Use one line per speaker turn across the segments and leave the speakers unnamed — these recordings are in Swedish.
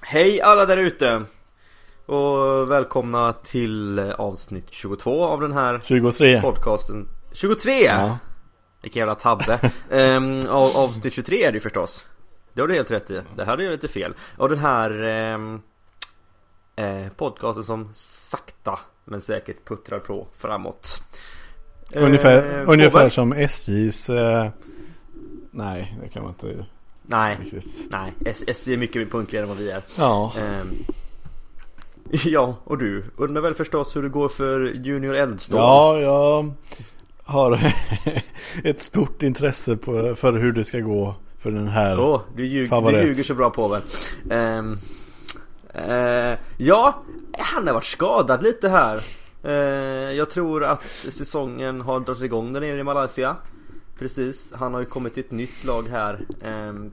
Hej alla där ute! Och välkomna till avsnitt 22 av den här
23.
podcasten 23!
Ja.
Vilken jävla tabbe! um, av, avsnitt 23 är det ju förstås Det har du helt rätt i, det här hade jag lite fel Och den här ehm, eh, podcasten som sakta men säkert puttrar på framåt
Ungefär,
Eh,
ungefär
Tobbe?
som SJs... Eh, nej, det kan man inte
Nej,
riktigt.
nej, S- SJ är mycket mer punktligare än vad vi är
Ja,
Ehm, Ja, och du undrar väl förstås hur det går för Junior Eldstål?
ja jag har ett stort intresse på, för hur det ska gå för den här.
Åh, du, ljug, du
Favorit.
ljuger så bra påven. Ehm, eh, ja, han har varit skadad lite här. Ehm, jag tror att säsongen har dragit igång där nere i Malaysia. Precis, han har ju kommit till ett nytt lag här. Ehm,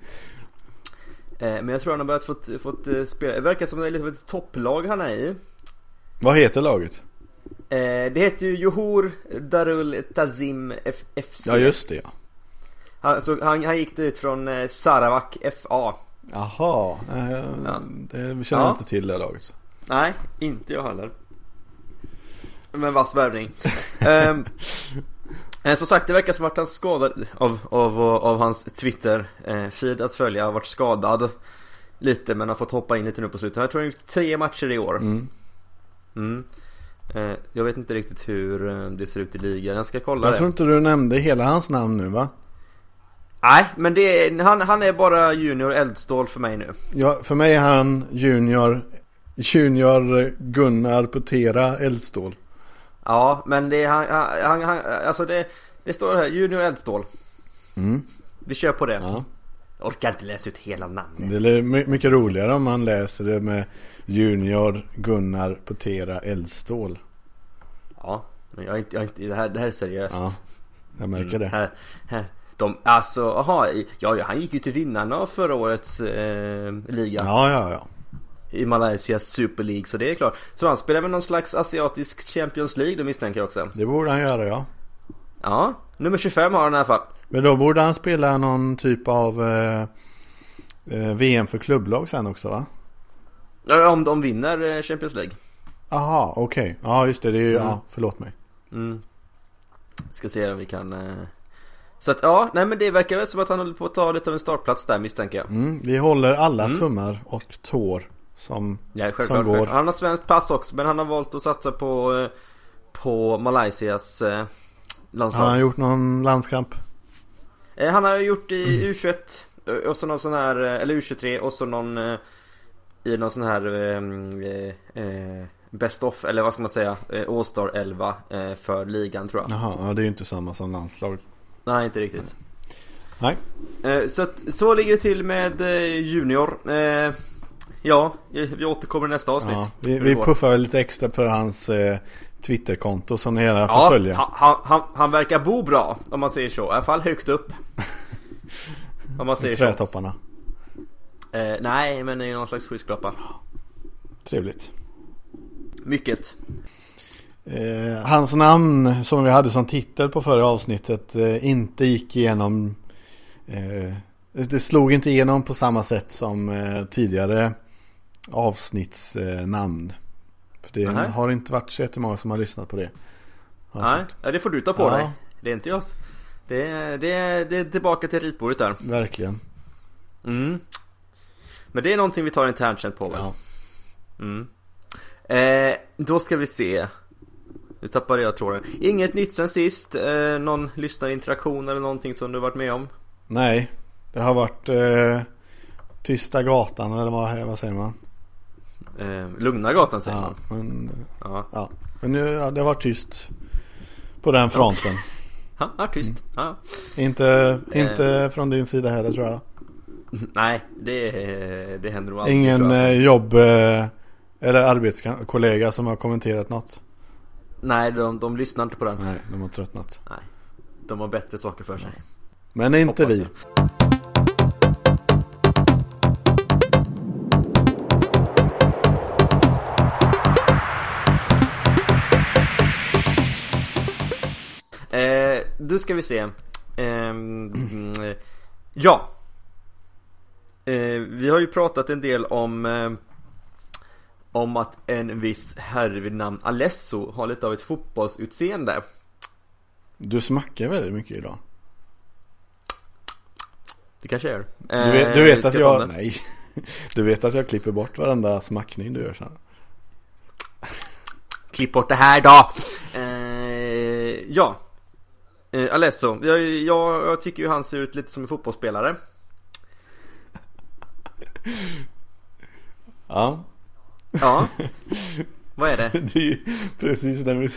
eh, men jag tror han har börjat fått, fått eh, spela. Det verkar som det är lite av ett topplag han är i.
Vad heter laget?
Ehm, det heter ju Johor Darul Tazim F- FC.
Ja, just det. ja.
han, så han, han gick dit från eh, Sarawak FA.
Jaha, eh,
Ja.
det känner
Ja.
jag inte till det laget.
Nej, inte jag heller. Men vass värvning. Ehm, eh, som sagt, det verkar som att han skadad av, av, av hans Twitter-feed att följa. Har varit skadad lite men har fått hoppa in lite nu på slutet. Jag tror han har gjort tre matcher i år.
Mm.
Mm. Eh, jag vet inte riktigt hur eh, det ser ut i ligan. Jag ska kolla
Jag
det.
tror inte du nämnde hela hans namn nu va?
Nej, men det är, han, han är bara junior eldstål för mig nu.
Ja, för mig är han junior, junior Gunnar Putera Eldstål.
Ja, men det är han, han, han, han alltså det, det står här, junior eldstål.
Mm.
Vi kör på det.
Ja.
Jag orkar inte läsa ut hela namnet.
Det är my- mycket roligare om man läser det med Junior Gunnar Putera Eldstål.
Ja, men jag är inte, jag är inte det, här, det här är seriöst.
Ja, jag märker
Mm,
det.
Här, här. De, alltså, aha, i- ja, ja, han gick ju till vinnarna av förra årets eh, liga
Ja, ja, ja.
i Malaysias Super League, så det är klart. Så han spelar väl någon slags asiatisk Champions League, det misstänker jag också.
Det borde han göra, ja.
Ja, nummer 25 har han i alla fall.
Men då borde han spela någon typ av eh, eh, VM för klubblag sen också, va?
Ja, Om de vinner eh, Champions League.
Aha, okej. Ja, just det. det är ju,
Mm.
ja, förlåt mig.
Mm. Ska se om vi kan... Eh... Så att ja, nej men det verkar väl som att han håller på att ta lite av en startplats där misstänker jag.
Mm, vi håller alla
Mm.
tummar och tår som...
Ja, självklart.
går.
självklart. Han har svenskt pass också men han har valt att satsa på, eh, på Malaysias eh,
Har
landslag.
han gjort någon landskamp?
Eh, Han har ju gjort i
Mm.
U21 eh, och så någon sån här, eh, eller U23 och så någon eh, i någon sån här eh, eh, Best of, eller vad ska man säga, eh, All-Star 11 eh, för ligan tror jag.
Jaha, ja, det är ju inte samma som landslag.
Nej, inte riktigt.
Nej.
Eh, Så, att, så ligger det till med eh, Junior. Eh, Ja, vi vi återkommer i nästa avsnitt.
Ja,
Hur
vi,
det
vi
går.
puffar väl lite extra för hans eh, Twitterkonto som ni gärna får följa.
han- Han, han, han verkar bo bra om man säger så. I alla fall högt upp. om man säger så.
Trätopparna.
Eh, nej, men i någon slags skyskrapa.
Trevligt.
Mycket.
Eh, hans namn som vi hade som titel på förra avsnittet eh, inte gick igenom. Eh, det slog inte igenom på samma sätt som eh, tidigare avsnittsnamn. Eh, namn. För det
Nej.
har inte varit så jättemånga som har lyssnat på det. Alltså.
Nej, ja, det får du ta på
Ja.
dig. Det är inte jag. Det, är- det, är- det är tillbaka till ritbordet där.
Verkligen.
Mm. Men det är någonting vi tar internt sen på väl?
Ja.
Mm. Eh, då ska vi se. Nu tappade jag tråden. Inget nytt sen sist. Eh, någon lyssnarinteraktion eller någonting som du varit med om?
Nej, det har varit eh, Tysta gatan eller vad, vad säger man?
Eh, Lugna gatan säger
Ja,
man.
men,
Ja.
ja. men nu, ja, det har varit tyst på den fronten.
Ha, ja, tyst.
Mm.
Ja.
Inte,
Eh.
inte från din sida heller tror jag.
Nej, det, det händer nog alltid
Ingen
tror jag.
eh, jobb eh, eller arbetskollega som har kommenterat något.
Nej, de, de lyssnar inte på den.
Nej, de har tröttnat.
De har bättre saker för sig.
Men inte
Hoppas
vi.
Eh, du ska vi se. Ehm, mm, ja. Eh, vi har ju pratat en del om eh, om att en viss herre vid namn Alesso har lite av ett fotbollsutseende.
Du smackar väldigt mycket idag.
Det kanske Eh, är.
Du vet, du vet att jag... Nej. Du vet att jag klipper bort varenda smackning du gör sen.
Klipp bort det här då! Eh, ja. Eh, Alesso. Jag, jag, jag tycker ju han ser ut lite som en fotbollsspelare.
Ja.
Ja. Vad är det?
Det är ju precis när vi...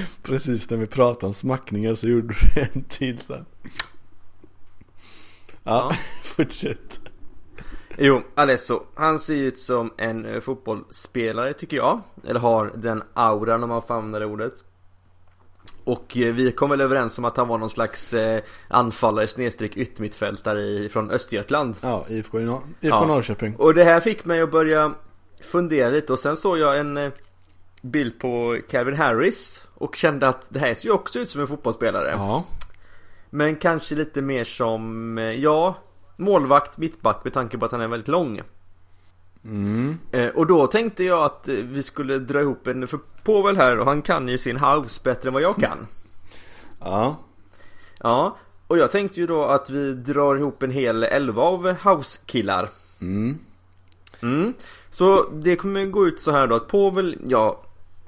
Precis när vi pratade om smackningar så gjorde du en till sen. Ja,
Ja.
fortsätt.
Jo, Alesso. Han ser ju ut som en eh, fotbollsspelare tycker jag. Eller har den auran om man får använda det ordet. Och eh, vi kom väl överens om att han var någon slags eh, anfallare snedstreck yttermittfältare i- från Östergötland.
Ja, IFK, i Nor- IFK
Ja.
Norrköping.
Och det här fick mig att börja fundera lite och sen såg jag en eh, bild på Calvin Harris och kände att det här ser ju också ut som en fotbollsspelare.
Ja.
Men kanske lite mer som, eh, ja, målvakt, mittback med tanke på att han är väldigt lång.
Mm.
Eh, Och då tänkte jag att eh, vi skulle dra ihop en, för Povel här och han kan ju sin house bättre än vad jag kan.
Ja.
Ja, och jag tänkte ju då att vi drar ihop en hel elva av house-killar.
Mm.
Mm. Så det kommer gå ut så här då att Povel, ja,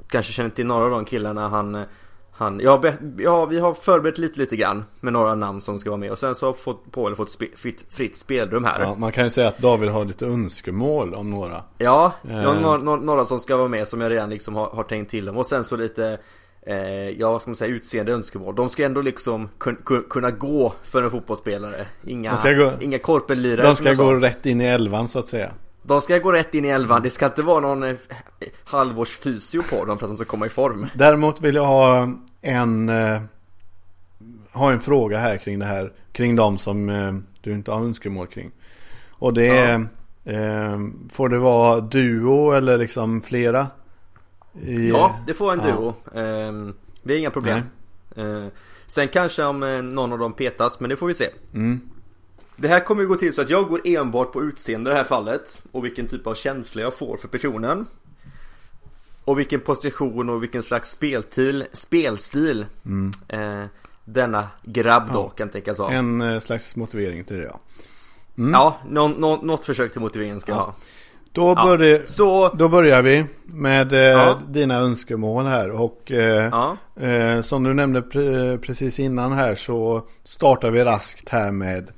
kanske känner till några av de killarna han, han ja, be, ja, vi har förberett lite, lite grann med några namn som ska vara med och sen så har fått, Povel fått spe, fritt, fritt spelrum här.
ja.
Ja,
Man kan ju säga att David har lite önskemål om några.
jag har
Eh.
några, några, några som ska vara med som jag redan liksom har, har tänkt till om och sen så lite Eh, ja, vad ska man säga, utseende önskemål. De ska ändå liksom kun, kun, kunna gå för en fotbollsspelare. Inga,
De ska gå-
inga korpenlirare
De
som
ska
jag sa.
gå rätt in i elvan så att säga.
De ska gå rätt in i elvan, det ska inte vara någon eh, halvårsfysio på dem för att de ska komma i form.
Däremot vill jag ha en, eh, ha en fråga här kring det här. Kring de som eh, du inte har önskemål kring. Och det är, eh, får det vara duo eller liksom flera? I, eh,
Ja, det får en
Ja.
duo. Ehm, det är inga problem. Eh, sen kanske om eh, någon av dem petas, men det får vi se.
Mm.
Det här kommer ju gå till så att jag går enbart på utseende i det här fallet och vilken typ av känsla jag får för personen. Och vilken position och vilken slags speltil, spelstil eh, denna grabb då
Mm. Ja.
kan tänkas ha.
En eh, slags motivering till det ja.
Ja, nå, nå, något försök till motiveringen ska jag
Ja.
ha.
Då,
Ja.
börjar,
Så,
då börjar vi med eh,
Ja.
dina önskemål här. Och eh,
ja.
Eh, som du nämnde pre- precis innan här så startar vi raskt här med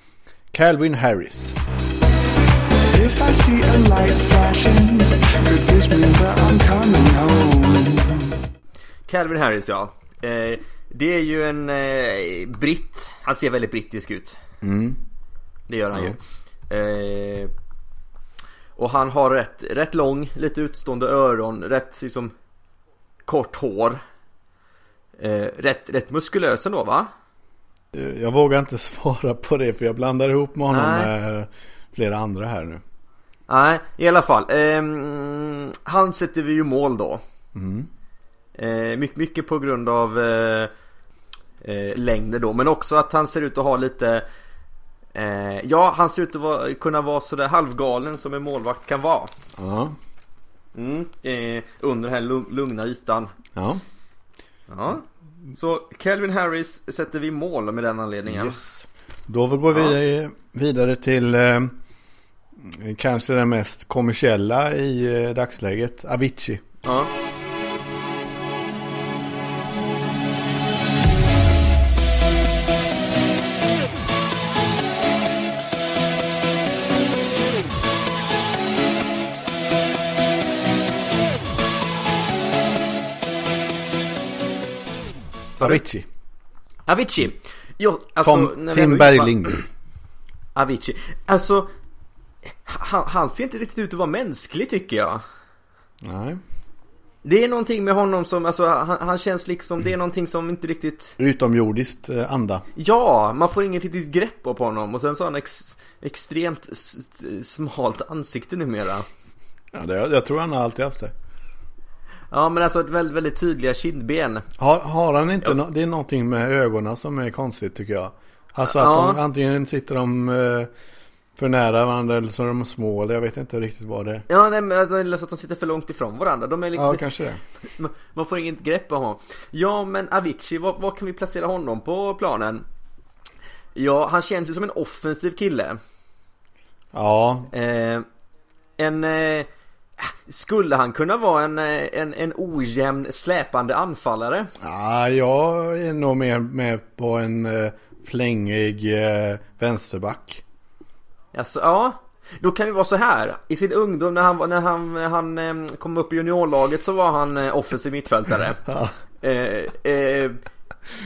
Calvin Harris.
If I see a light flashing, could this mean that I'm coming home?
Calvin Harris ja. Eh, det är ju en eh, britt. Han ser väldigt brittisk ut.
Mm.
Det gör han
Ja.
ju. Eh, och han har rätt, rätt lång, lite utstående öron, rätt liksom kort hår. Eh, rätt, rätt muskulös ändå va?
Eh, Jag vågar inte svara på det för jag blandar ihop med honom
Nej.
med eh, flera andra här nu.
Nej, i alla fall. Ehm, han sätter vi ju mål då.
Mm.
Eh, mycket, mycket på grund av eh, eh, längden då. Men också att han ser ut att ha lite... Eh, ja, han ser ut att vara, kunna vara sådär halvgalen som en målvakt kan vara.
Ja.
Mm. Eh, under den här lug- lugna ytan.
ja.
Ja. Så Calvin Harris sätter vi mål med den anledningen.
Yes. Då går vi vidare till eh, kanske den mest kommersiella i eh, dagsläget, Avicii.
Ja. Sa du?
Avicii.
Avicii. Jo, alltså,
Tom,
när vi ändå
Tim
är inne på-
Bergling.
Avicii. Alltså, han, han ser inte riktigt ut att vara mänsklig tycker jag.
Nej.
Det är någonting med honom som, alltså han, han känns liksom, det är någonting som inte riktigt
Utomjordiskt eh, anda.
Ja, man får inget riktigt grepp på honom och sen så har han ex, extremt s, s- smalt ansikte numera
Ja, det, jag tror han har alltid haft det.
Ja men alltså ett väldigt, väldigt tydliga kindben
Har, har han inte, nå- det är någonting med ögonen som är konstigt tycker jag. Alltså att
Ja.
de antingen sitter de eh, för nära varandra eller så är de små eller jag vet inte riktigt vad det är.
Ja, nej men alltså, det är så att de sitter för långt ifrån varandra. De är lite,
Ja, kanske det.
man- Man får inget grepp om honom. Ja, men Avicii, vad, vad kan vi placera honom på planen? Ja, han känns ju som en offensiv kille.
Ja,
Eh, en... Eh, skulle han kunna vara en, eh, en, en ojämn släpande anfallare?
ja jag är nog mer med på en eh, flängig eh, vänsterback.
Alltså, ja. Då kan vi vara så här. I sin ungdom när han, var- när han, han eh, kom upp i juniorlaget så var han eh, offensiv mittfältare.
Ja.
eh, eh,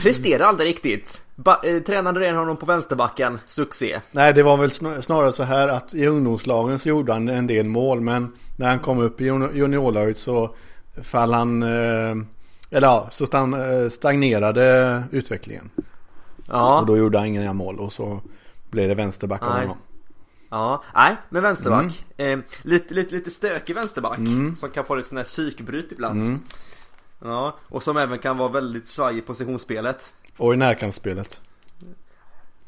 presterade aldrig riktigt. Ba- eh, tränade redan honom på vänsterbacken. Succé.
Nej, det var väl snar- snarare så här att i ungdomslagen så gjorde han en del mål men när han kom upp i jun- juniorlaget så fall han, eh, eller ja, så stan- eh, stagnerade utvecklingen. Och
Ja.
då gjorde han inga mål och så blev det vänsterback av
Nej.
honom.
ja. Nej, men vänsterback.
Mm.
Eh, lite, lite, lite stökig vänsterback. Som kan få lite sån här psykbryt
Mm.
ibland. Ja, och som även kan vara väldigt svajig i positionsspelet.
Och i närkampsspelet.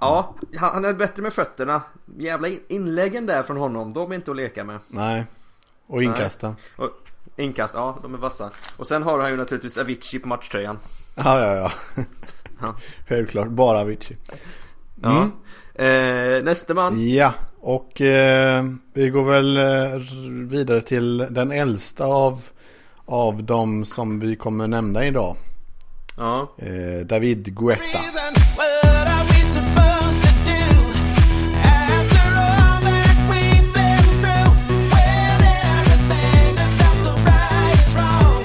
Ja, han, han är bättre med fötterna. Jävla in- inläggen där från honom, de är inte att leka med.
Nej. Och inkasten.
Och inkast, ja de är vassa. Och sen har han ju naturligtvis Avicii på matchtröjan.
Ja, ja, ja.
Ja.
Självklart. Bara Avicii.
Ja.
Mm.
Eh, nästa man.
Ja, och eh, vi går väl eh, r- vidare till den äldsta av, av de som vi kommer nämna idag.
Ja.
Eh, David Guetta.
Reason, What are we supposed to do? After all that we've been through, when everything that felt so right is wrong.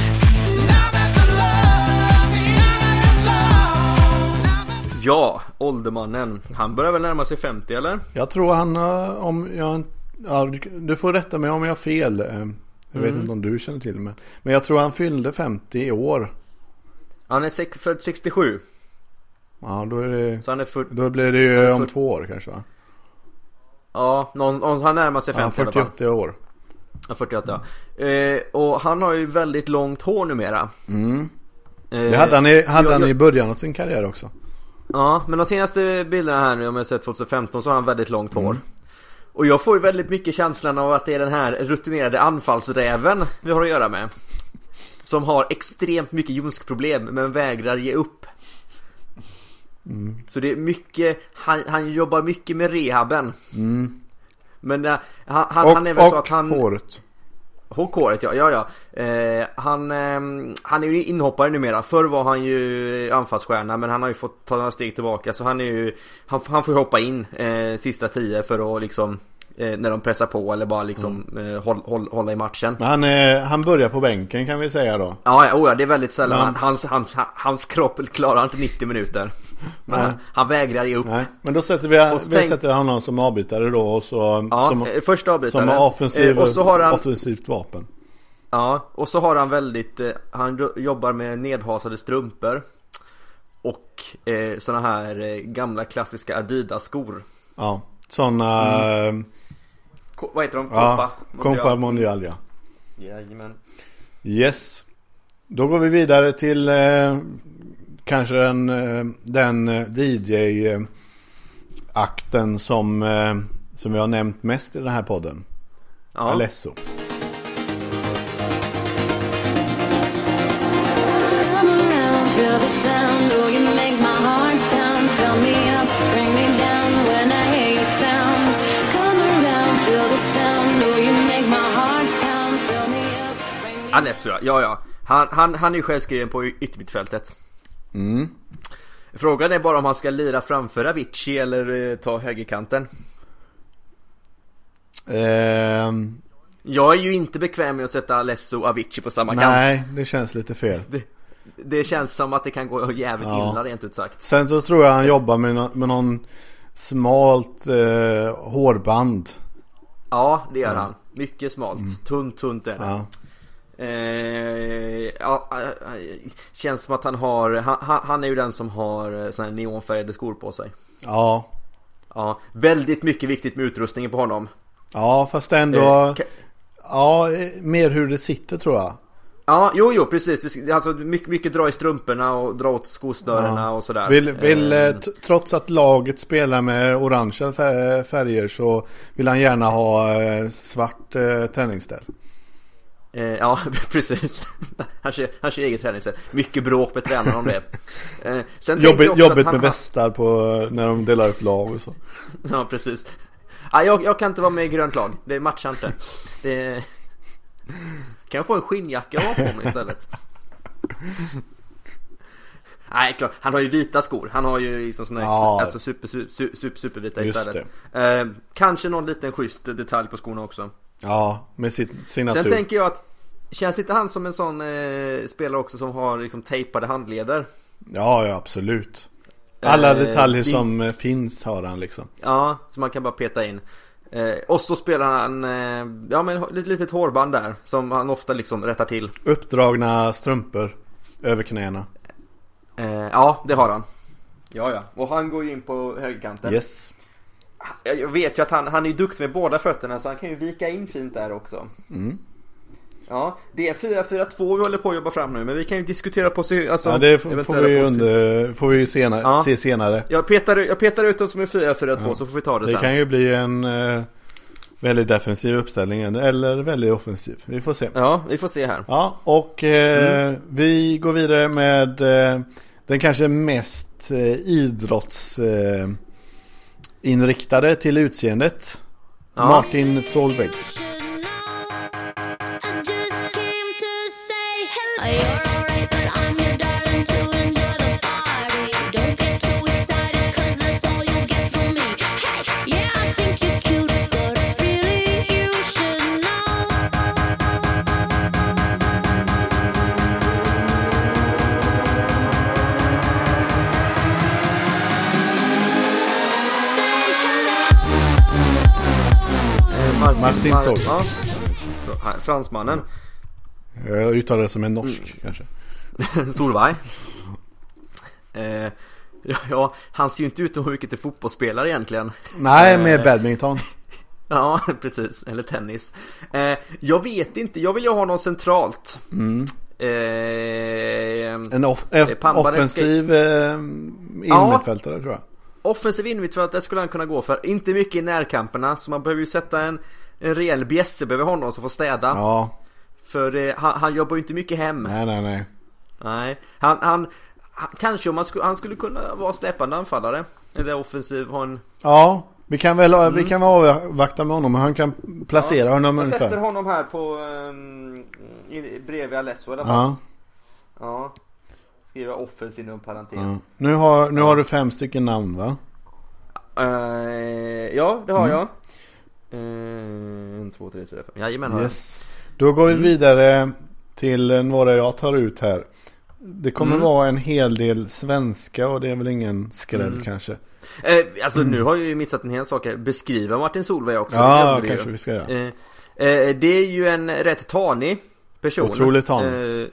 Now that the love, the honor is long. Now that
Ja, åldermannen. Han börjar väl närma sig 50 eller?
Jag tror han har, om jag, ja, du får rätta mig om jag har fel. eh, Jag
Mm.
vet inte om du känner till men, men jag tror han fyllde 50 i år.
Han är sex, född 67.
Ja, då, är det,
Så han är 40,
då blir det ju om
för-
två år kanske va?
ja, någon, någon, han närmar sig
Ja,
50 i alla fall.
48 år.
Ja, 48 ja. Eh, och han har ju väldigt långt hår numera. Eh,
Det hade han, i, hade
jag-
han
jag-
i början av sin karriär också.
Ja, men de senaste bilderna här nu om jag sett 2015 så har han väldigt långt hår.
Mm.
Och jag får ju väldigt mycket känslan av att det är den här rutinerade anfallsräven vi har att göra med. Som har extremt mycket ljumskproblem men vägrar ge upp.
Mm.
Så det är mycket, han, han jobbar mycket med rehaben. Men eh, han, han,
Mm. Och,
han är väl så
och
att han...
håret.
HK-året ja, ja ja. Eh, han, ehm, han är ju inhoppare numera. Förr var han ju anfallsstjärna men han har ju fått ta några steg tillbaka så han är ju Han, han får ju hoppa in eh, sista tio för att liksom eh, När de pressar på eller bara liksom
Mm.
eh, håll, håll, hålla i matchen.
Men han, eh, han börjar på bänken kan vi säga då.
Ja, ja, oh, ja, det är väldigt sällan.
Men-
Han, hans, hans, hans kropp klarar inte 90 minuter. Men han, han vägrar ge upp.
Nej, men då sätter vi,
Och så
vi
tänk-
sätter honom som avbytare då och så
Ja,
som,
eh, första avbytare.
som offensiv,
Eh, och så har han,
offensivt vapen.
Ja, och så har han väldigt, eh, han ro- jobbar med nedhasade strumpor Och eh, såna här eh, gamla klassiska Adidas-skor
Ja, sådana... eh,
Ko- Vad heter de?
Ja,
Kompa?
Compa
Mm. Mondial.
Mondial eh, ja.
Jajamän
Yes. Då går vi vidare till eh, kanske den, eh, den DJ-akten som, eh, som vi har nämnt mest i den här podden.
ja.
Alesso.
Come around, feel the sound. Oh, you make my heart pound. Fill me up, bring me down when I hear your sound. Come around, feel the sound. Oh, you make my heart pound. Fill me up, bring me
Anetsu ja, ja, ja. Han, han, han är ju självskriven på y- yttermittfältet
Mm.
Frågan är bara om han ska lira framför Avicii eller eh, ta högerkanten
Ehm,
Jag är ju inte bekväm med att sätta Alesso och Avicii på samma kant
nej, det känns lite fel.
Det känns som att det kan gå jävligt
Ja.
illa rent ut sagt
Sen så tror jag han jobbar med, nå- med någon smalt eh, hårband.
Ja, det gör han. Mycket smalt. Tunt, tunt är det.
Mm. Ja.
Eh, ja, eh, eh, känns som att han har, han, han- han är ju den som har eh, såna här neonfärgade skor på sig.
ja.
Ja, väldigt mycket viktigt med utrustningen på honom.
Ja, fast ändå.
Eh, ka-
Ja, eh, mer hur det sitter tror jag.
Ja, jo, jo, precis. Det, ska- alltså, mycket, mycket dra i strumporna och dra åt skosnörena
Ja.
och sådär.
Vill, vill,
Eh,
eh, t- trots att laget spelar med orangea fär- färger så vill han gärna ha eh, svart eh, träningsställ.
Eh, ja, precis. Han kör, han kör eget träningssätt. Mycket bråk med tränaren om det. Eh, sen tänker jag
Jobbigt,
också att
jobbigt
han-
med västar på eh, när de delar upp lag och så.
Ja, precis. Ah, jag, jag kan inte vara med i grönt lag. Det matchar inte. Det... Kan jag få en skinnjacka att ha på mig istället? Nej, klart. Han har ju vita skor. Han har ju liksom såna här,
Ja.
alltså super, super, super, supervita
Just
istället. Eh, kanske någon liten schysst detalj på skorna också.
Ja, med sin signatur.
Sen tänker jag att Känns inte han som en sån eh, spelare också som har liksom tejpade handleder?
Ja, ja absolut. Alla
Eh,
detaljer
din-
som eh, finns har han liksom.
Ja, som man kan bara peta in. Eh, och så spelar han, eh, ja men ett litet hårband där som han ofta liksom rättar till.
Uppdragna strumpor över knäna.
Eh, ja, det har han. Ja, ja. Och han går ju in på högerkanten.
Yes.
Jag jag vet ju att han, han är ju duktig med båda fötterna så han kan ju vika in fint där också.
Mm.
Ja, det är 4-4-2 vi håller på att jobba fram nu men vi kan ju diskutera position, alltså
Ja, det f- får
eventuella
vi, ju
posi-
under, får vi ju senare,
Ja.
se senare.
Jag petar, jag petar ut dem som en 4-4-2
Ja.
så får vi ta det,
Det
sen.
kan ju bli en eh, väldigt defensiv uppställning eller väldigt offensiv. Vi får se.
Ja, vi får se här.
Ja, och eh,
Mm.
vi går vidare med eh, den kanske mest eh, idrottsinriktade eh, inriktade till utseendet.
Ja.
Martin Solveig.
Eh, Martin,
Martin Solveig.
Ja. Ja, Fransmannen.
Jag uttalar det som en norsk
Mm.
kanske.
Solveig. Eh, ja, ja, han ser ju inte ut att vara mycket till fotbollsspelare egentligen.
Nej, med
Eh.
badminton.
Ja, precis. Eller tennis. Eh, jag vet inte, jag vill ju ha någon centralt.
Mm.
Eh,
En off- eh,
Pambarek ska-
offensiv eh, innermittfältare tror jag.
offensiv innermittfältare det skulle han kunna gå för. Inte mycket i närkamperna, så man behöver ju sätta en, en rejäl bjässe behöver ha någon som får städa.
Ja,
För eh, han, han jobbar ju inte mycket hem.
nej nej nej.
Nej, han, han, han kanske om han skulle, han skulle kunna vara släpande anfallare. Eller offensiv, ha en...
Ja, vi kan väl vi
Mm.
kan väl avvakta med honom. Han kan placera honom
Jag sätter
ungefär.
honom här på... Um, i- bredvid Alesso i alla fall.
Ja,
Ja. Skriva offensiv inom parentes.
ja. Nu, har, nu har du fem stycken namn va?
Eh, ja, det
Mm.
har jag. Eh, en, två, tre, fyra, fem. Jajamän har
Yes. Då går vi
Mm.
vidare till eh, några jag tar ut här. Det kommer
Mm.
vara en hel del svenska och det är väl ingen skräll
Mm.
kanske.
jag. Eh, alltså nu har jag ju missat en hel sak här. Beskriva Martin Solveig också. det
Mm. Ja,
glömde vi ju.
kanske vi ska göra.
Eh, eh, det är ju en rätt tanig person.
Otroligt tanig.
Eh,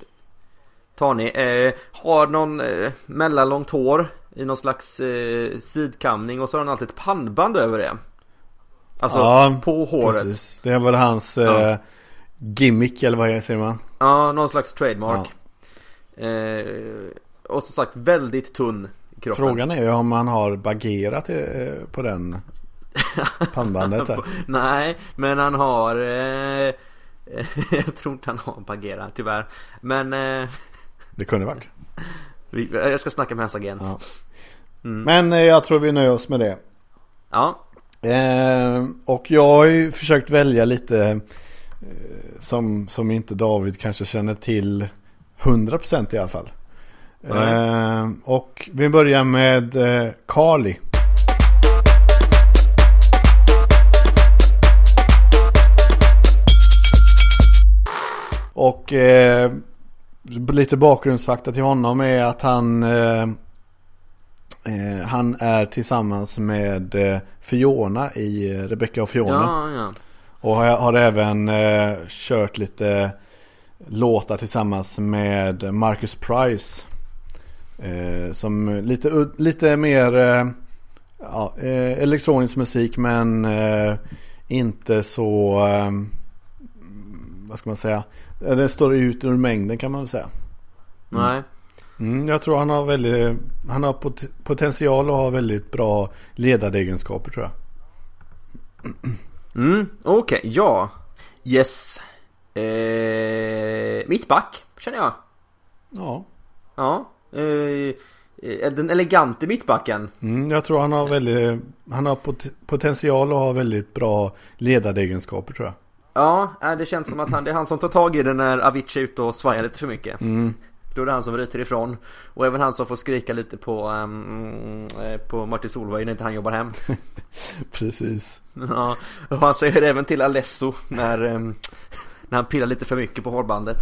tanig. Eh, har någon eh, mellanlångt hår i någon slags eh, sidkamning och så har han alltid ett pannband över det. Alltså
Ja,
på håret.
Precis. Det är väl hans eh, gimmick eller vad säger man?
Ja, någon slags trademark. Eh, och som sagt väldigt tunn i kroppen.
Frågan är ju om han har bagerat eh, på den pannbandet där.
Nej, men han har... Eh, jag tror inte han har Bagheera, tyvärr. Men eh,
Det kunde varit.
vi, jag ska snacka med hans agent.
Ja.
Ja. Mm.
Men eh, jag tror vi nöjer oss med det. Eh, och jag har ju försökt välja lite eh, som, som inte David kanske känner till 100% i alla fall. Eh, och vi börjar med eh, Carly. Och eh, lite bakgrundsfakta till honom är att han eh, Eh, han är tillsammans med eh, Fiona i eh, Rebecca och Fiona.
ja, ja.
Och har, har även eh, kört lite låtar tillsammans med Marcus Price. Eh, som lite, ud- lite mer eh, ja, eh, elektronisk musik men eh, inte så eh, vad ska man säga Ja, Den står ut ur mängden kan man väl säga.
Nej.
Mm, jag tror han har, väldigt, han har pot- potential och har väldigt bra ledaregenskaper tror jag.
Mm, okej, ja. Yes. Eh, mittback, känner jag.
Ja.
Ja. Eh, eh, den elegante mittbacken.
Mm, jag tror han har, väldigt, han har pot- potential och har väldigt bra ledaregenskaper tror jag.
Ja, eh, det känns som att han, det är han som tar tag i det när Avicii är ute och svajar lite för mycket.
Mm.
Då är det han som ryter ifrån. Och även han som får skrika lite på, ehm, eh, på Martin Solveig när inte han jobbar hem.
Precis.
ja, och han säger det även till Alesso när, ehm, när han pillar lite för mycket på hårbandet.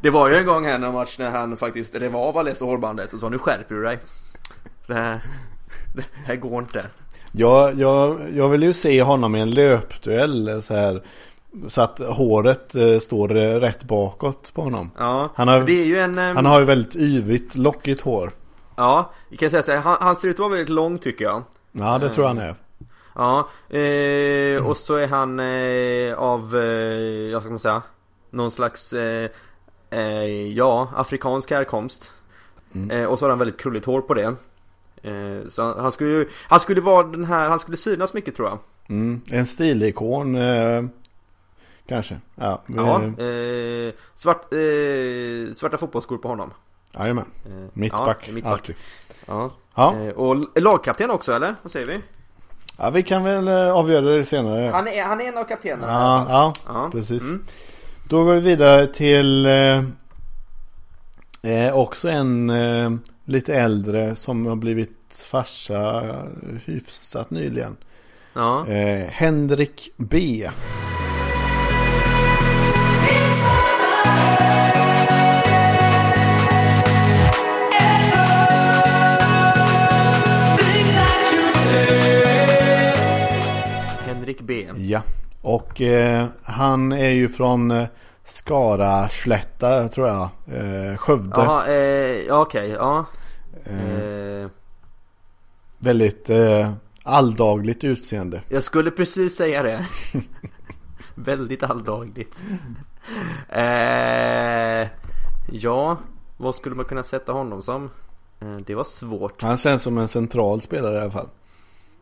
Det var ju en gång här i någon match när han faktiskt rev av Alesso hårbandet och sa nu skärper du dig. Det här, det här går inte.
Jag, jag, jag vill ju se honom i en löpduell så här. Så att håret eh, står eh, rätt bakåt på honom.
Ja,
Han har-
det är ju en... ehm,
Han har ju väldigt yvigt, lockigt hår.
Ja, vi kan säga så här, han, han ser ut att vara väldigt lång tycker jag.
Ja,
Mm.
det tror jag han är.
Ja, eh, och så är han eh, av, eh, vad ska man säga, någon slags, eh, eh, ja, afrikansk härkomst. Eh, och så har han väldigt krulligt hår på det. Eh, så han, han skulle ju, han skulle vara den här, han skulle synas mycket tror jag.
Mm. En stilikon eh, kanske. Ja,
Ja,
eh,
eh, svart, eh, svarta fotbollsskor på honom.
jajamän.
Eh,
Mittback,
ja,
alltid.
Ja.
Ja.
Eh, och l- lagkapten också eller? Vad säger vi?
ja, vi kan väl eh, avgöra det senare.
Han är, han är en av kaptenerna i alla
ja,
fall.
ja,
Ja,
precis.
mm.
Då går vi vidare till eh, eh, också en eh, lite äldre som har blivit farsa eh, hyfsat nyligen.
ja.
Eh, Henrik B.
Henrik B.
Ja, och eh, han är ju från eh, Skara Slätta tror jag. Eh, Skövde.
Jaha, eh, ja, okej, ja.
Eh,
Eh,
väldigt eh, alldagligt utseende.
jag skulle precis säga det. Väldigt alldagligt. Eh, ja, vad skulle man kunna sätta honom som? Eh, det var svårt.
Han känns som en central spelare i alla fall.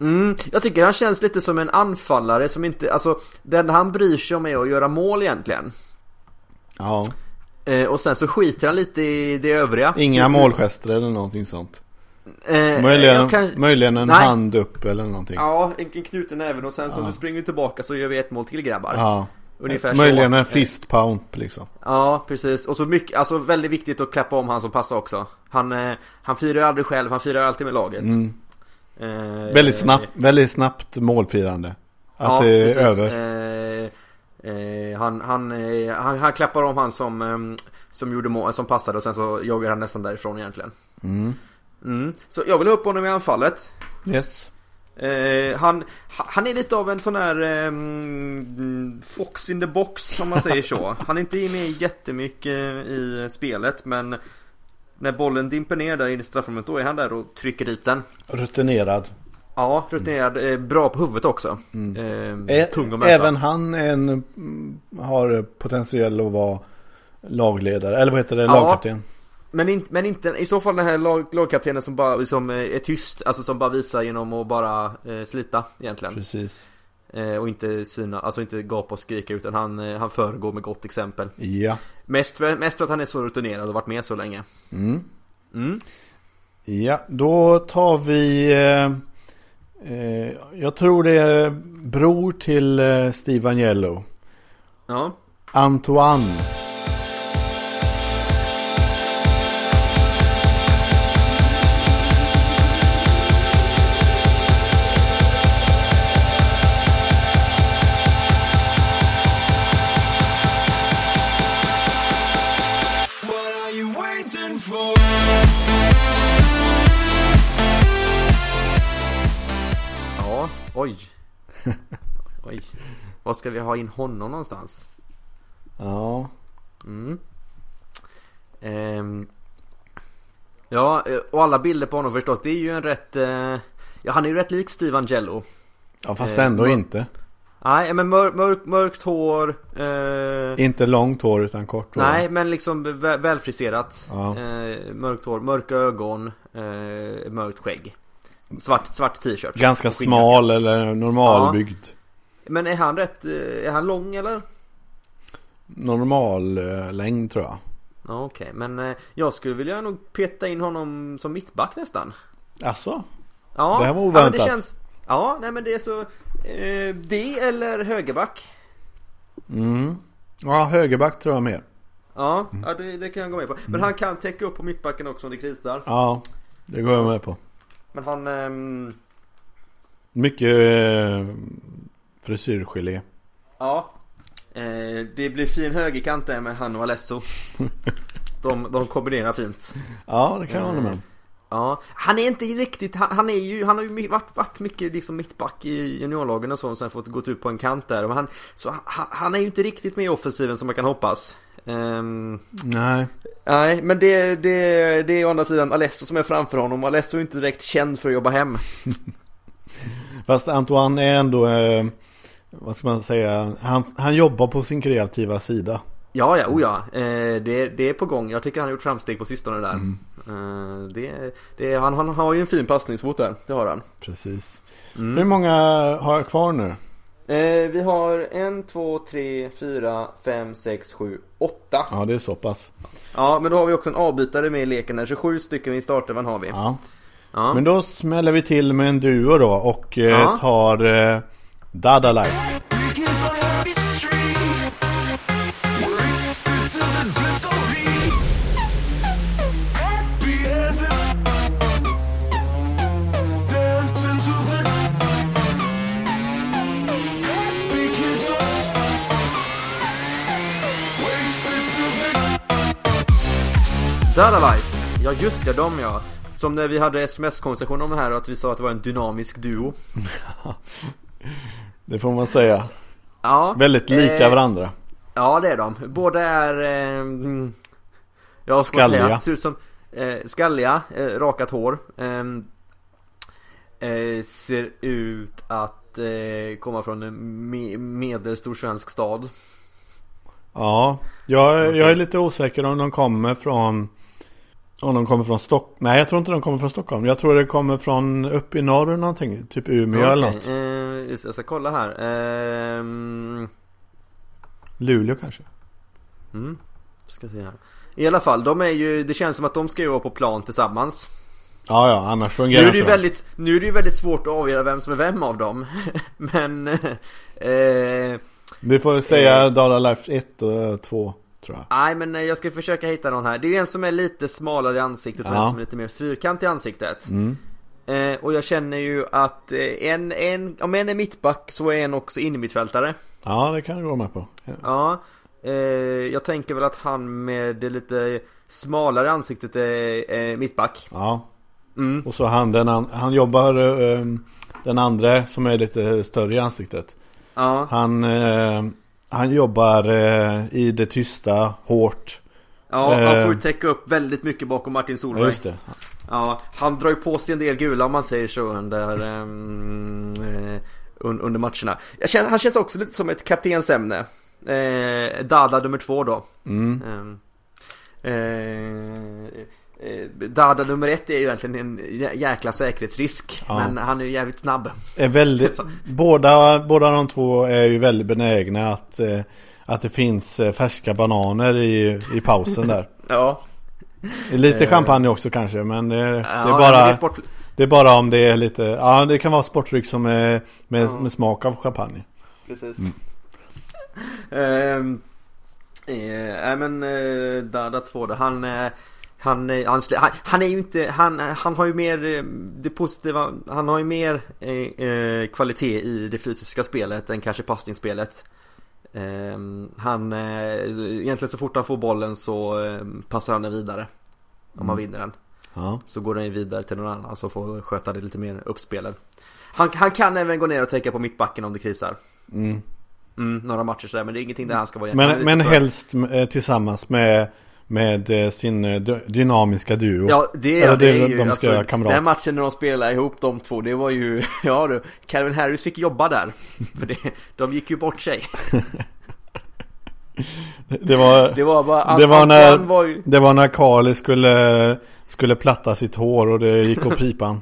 Mm, jag tycker han känns lite som en anfallare som inte, alltså det enda han bryr sig om är att göra mål egentligen.
Ja,
Eh, och sen så skiter han lite i det övriga.
inga målgester eller någonting sånt.
Eh,
Möjligen,
jag kanske-
möjligen en
Nej.
hand upp eller någonting.
Ja, en en knuten även och sen så nu springer vi tillbaka så gör vi ett mål till grabbar.
Ja.
Ungefär
Möjligen
så.
en fist pound liksom.
Ja, precis. Och så mycket, alltså väldigt viktigt att klappa om han som passar också. Han, eh, han firar ju aldrig själv, han firar ju alltid med laget.
Mm.
Eh,
Väldigt, snabbt, väldigt snabbt målfirande. Att det är över.
över. Eh, eh, han, han, eh, han, han klappar om han som, eh, som gjorde mål, som passade och sen så joggar han nästan därifrån egentligen.
Mm.
Mm. Så jag vill ha upp honom i anfallet.
Yes.
Eh, han, han är lite av en sån här ehm, Fox in the box om man säger så. Han är inte med jättemycket i spelet men när bollen dimper ner där inne i straffområdet då är han där och trycker dit den.
Rutinerad.
Ja, rutinerad. Eh, bra på huvudet också. Eh,
Ä-
tung att möta.
Även han är en, mm, har potentiell att vara lagledare, eller vad heter det,
Ja.
lagkapten.
Men, inte, men inte, i så fall den här lag, lagkaptenen som bara liksom, eh, är tyst, alltså som bara visar genom att bara eh, slita egentligen.
Precis.
Eh, och inte syna, alltså inte gapa och skrika utan han, eh, han föregår med gott exempel.
Ja.
Mest för, mest för att han är så rutinerad och varit med så länge.
Mm.
Mm.
Ja, då tar vi... Eh, eh, jag tror det är bror till eh, Steve Agnello.
Ja.
Antoine.
What are you waiting for?
Ja, oj. Oj. Var ska vi ha in honom någonstans?
Ja.
Mm. Ehm. Ja, eh, och alla bilder på honom förstås. Det är ju en rätt... Eh... Ja, han är ju rätt lik Steve Angello.
ja, fast
Eh,
ändå
vad-
inte.
Nej eh, men mör, mörk, mörkt hår. Eh,
Inte långt hår utan kort hår.
Nej, men liksom vä- välfriserat.
Ja.
Eh, mörkt hår, mörka ögon, eh, mörkt skägg. Svart, svart t-shirt.
Ganska
Och skinnjacka.
smal eller normalbyggd.
Men är han rätt, eh, är han lång eller?
Normal eh, längd tror jag.
Ja, Okej, men eh, jag skulle vilja nog peta in honom som mittback nästan.
Alltså?
Ja,
Det här var
Ja, men det
oväntat.
känns, ja nej men det är så. Eh, det eller högerback.
Mm. Ja, högerback tror jag mer.
Ja,
Mm.
ja det, det kan jag gå med på. Men han kan täcka upp på mittbacken också om det krisar.
Ja, det går jag med på.
Men han... ehm,
Mycket eh, frisyrgelé.
Ja. Eh, det blir fin högerkant där med han och Alesso. De, de kombinerar fint.
Ja, det kan jag hålla med om.
Ja. Han är inte riktigt, han, han är ju, han har ju my- varit, varit mycket liksom mittback i juniorlagen och så och sen fått gått ut på en kant där. Men han, så han, han är ju inte riktigt med i offensiven som man kan hoppas. Ehm,
Nej.
nej, men det, det, det är å andra sidan Alesso som är framför honom. Alesso är inte direkt känd för att jobba hem.
Fast Antoine är ändå, eh, vad ska man säga, han, han jobbar på sin kreativa sida.
Ja, ja, oh ja. Eh, det, det är på gång. Jag tycker han har gjort framsteg på sistone där. Eh, det, det, han, han har ju en fin passningsfot där, det har han.
Precis.
Mm.
Hur många har jag kvar nu?
Eh, vi har en, två, tre, fyra, fem, sex, sju, åtta.
Ja, det är så pass.
Ja, men då har vi också en avbytare med i leken där. 27 stycken i startelvan har vi.
Ja.
Ja.
Men då smäller vi till med en duo då och eh,
Ja.
tar eh, Dada Life.
Weekends on happy street. We're still to the disco beat. Happy as a dancing to the happy kids on. Wasted to the
Dadalife! Ja, just det, de ja. Som när vi hade sms-konversation om det här och att vi sa att det var en dynamisk duo.
Det får man säga.
Ja.
Väldigt lika
eh,
varandra.
Ja det är de. Båda är... Eh, mm, ja, vad ska man
Skalliga.
Säga, ser ut som, eh, skalliga, eh, rakat hår. ehm, eh, ser ut att eh, komma från en me- medelstor svensk stad.
Ja, jag, jag är lite osäker om de kommer från om de kommer från Stockholm. Nej, jag tror inte de kommer från Stockholm. Jag tror det kommer från upp i norr eller någonting. Typ Umeå eller
Okej,
något.
eh, jag ska kolla här. Ehm,
Luleå kanske.
mm, ska se här. I alla fall, de är ju, det känns som att de ska ju vara på plan tillsammans.
Ja, ja, annars
Nu
fungerar
är, det ju
inte de.
väldigt, nu är det ju väldigt svårt att avgöra vem som är vem av dem. Men... Eh,
Vi får säga Dala Life 1 och 2 tror jag.
Nej men eh, jag ska försöka hitta någon här. Det är ju en som är lite smalare i ansiktet och
Ja.
en som är lite mer fyrkantig i ansiktet. Eh, och jag känner ju att eh, en, en, om en är mittback så är en också innermittfältare.
Ja, det kan jag gå med på.
Ja. Eh, jag tänker väl att han med det lite smalare ansiktet är, är mittback.
Ja.
Mm.
Och så han, den an- han jobbar eh, ehm, den andra som är lite större i ansiktet.
Ja.
Han, eh, han jobbar eh, i det tysta, hårt.
ja han
Eh.
får ju täcka upp väldigt mycket bakom Martin
Ja,
Solveig.
just det.
Ja, han drar ju på sig en del gula om man säger så under, ehm, eh, un, under matcherna. Jag känner, han känns också lite som ett kaptensämne. Eh, Dada nummer två då.
Mm.
Ehm, eh, eh, Dada nummer ett är ju egentligen en jä- jäkla säkerhetsrisk.
Ja.
Men han är ju jävligt snabb.
är väldigt, båda, båda de två är ju väldigt benägna att, eh, att det finns eh, färska bananer i, i pausen där.
Ja,
Lite
Eh.
champagne också kanske men eh, det,
ja
är
men det är
bara,
sport...
det är bara om det är lite, ja det kan vara sportdryck som är med, med smak av champagne.
Precis. Ehm, eh, Nej men eh, Dada 2 då, han, eh, han, eh, han, slä- han, han är ju inte, han, han har ju mer eh, det positiva, han har ju mer eh, eh, kvalitet i det fysiska spelet än kanske passningsspelet. Ehm, han, eh, egentligen så fort han får bollen så eh, passar han den vidare. Om man vinner den.
Ja.
Så går den ju vidare till någon annan som får sköta det lite mer uppspelen. Han, han kan även gå ner och täcka på mittbacken om det krisar.
Mm.
Mm, några matcher sådär, men det är ingenting där han ska vara
Men,
Han är
men
lite för-
helst eh, tillsammans med, Med eh, sin eh, dy- dynamiska duo.
Ja det,
Eller
det
det
är
är
ju alltså,
de ska göra kamrat.
Den matchen när de spelade ihop de två Det var ju, ja du Calvin Harris fick jobba där För det, de gick ju bort sig
Det var,
Det var bara Ant-
Det var när-
Antoine var ju,
det var när Carly skulle, skulle platta sitt hår och det gick åt pipan.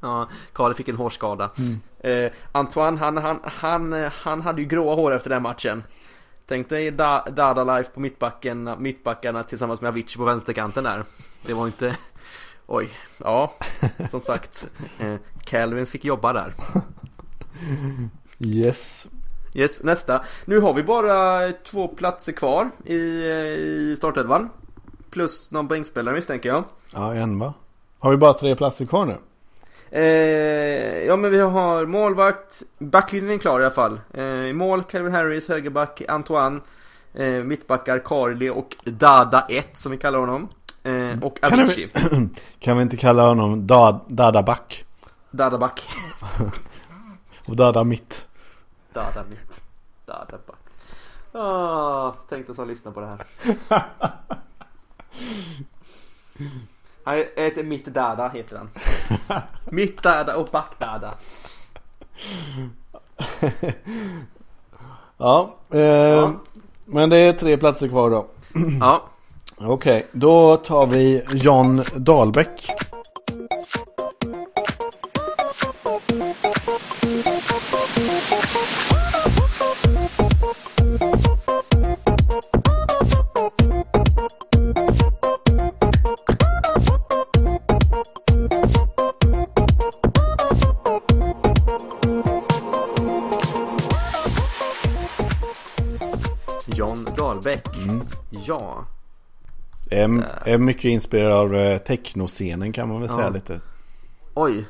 Ja, Karl fick en hårskada
Mm.
eh, Antoine han, han, han, han hade ju gråa hår efter den matchen Tänk dig da, Dada Life på mittbacken, mittbackarna tillsammans med Avicii på vänsterkanten där Det var inte Oj, ja som sagt eh, Calvin fick jobba där
Yes.
Yes, nästa. Nu har vi bara två platser kvar i, eh, i startelvan. Plus någon poängspelare misstänker jag.
Ja, en va? Har vi bara tre platser kvar nu?
Eh, ja men vi har målvakt, backlinjen är klar i alla fall. Eh, i mål Calvin Harris, högerback Antoine, eh, mittbackar Karli och Dada 1 som vi kallar honom. Eh, och
Kan
Avicii,
Kan vi inte kalla honom da, Dada Back?
Dada back.
Och Dada Mitt.
Dada mitt, Dada back. Ah, tänkte som lyssnar på det här. Han heter Mitt Dada heter han. Mitt Dada och Back Dada.
Ja, eh, men det är tre platser kvar då.
Ja.
Okej, då tar vi John Dahlbäck.
John Dahlbäck. Ja.
Är, är mycket inspirerad av eh, technoscenen kan man väl
Ja.
säga lite.
Oj.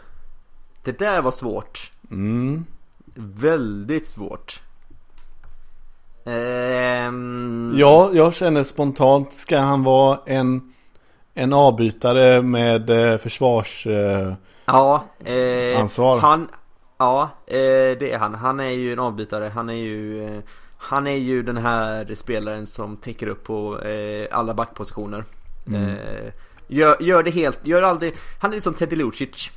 Det där var svårt.
Mm.
Väldigt svårt. Ehm,
Ja, jag känner spontant, ska han vara en, en avbytare med eh, försvars... Eh,
Ja, eh,
Ansvar.
Han, ja, eh, det är han. Han är ju en avbytare. Han är ju, eh, han är ju den här spelaren som täcker upp på eh, alla backpositioner.
Mm.
Eh, gör, gör det helt, gör aldrig, han är lite som Teddy Lucic.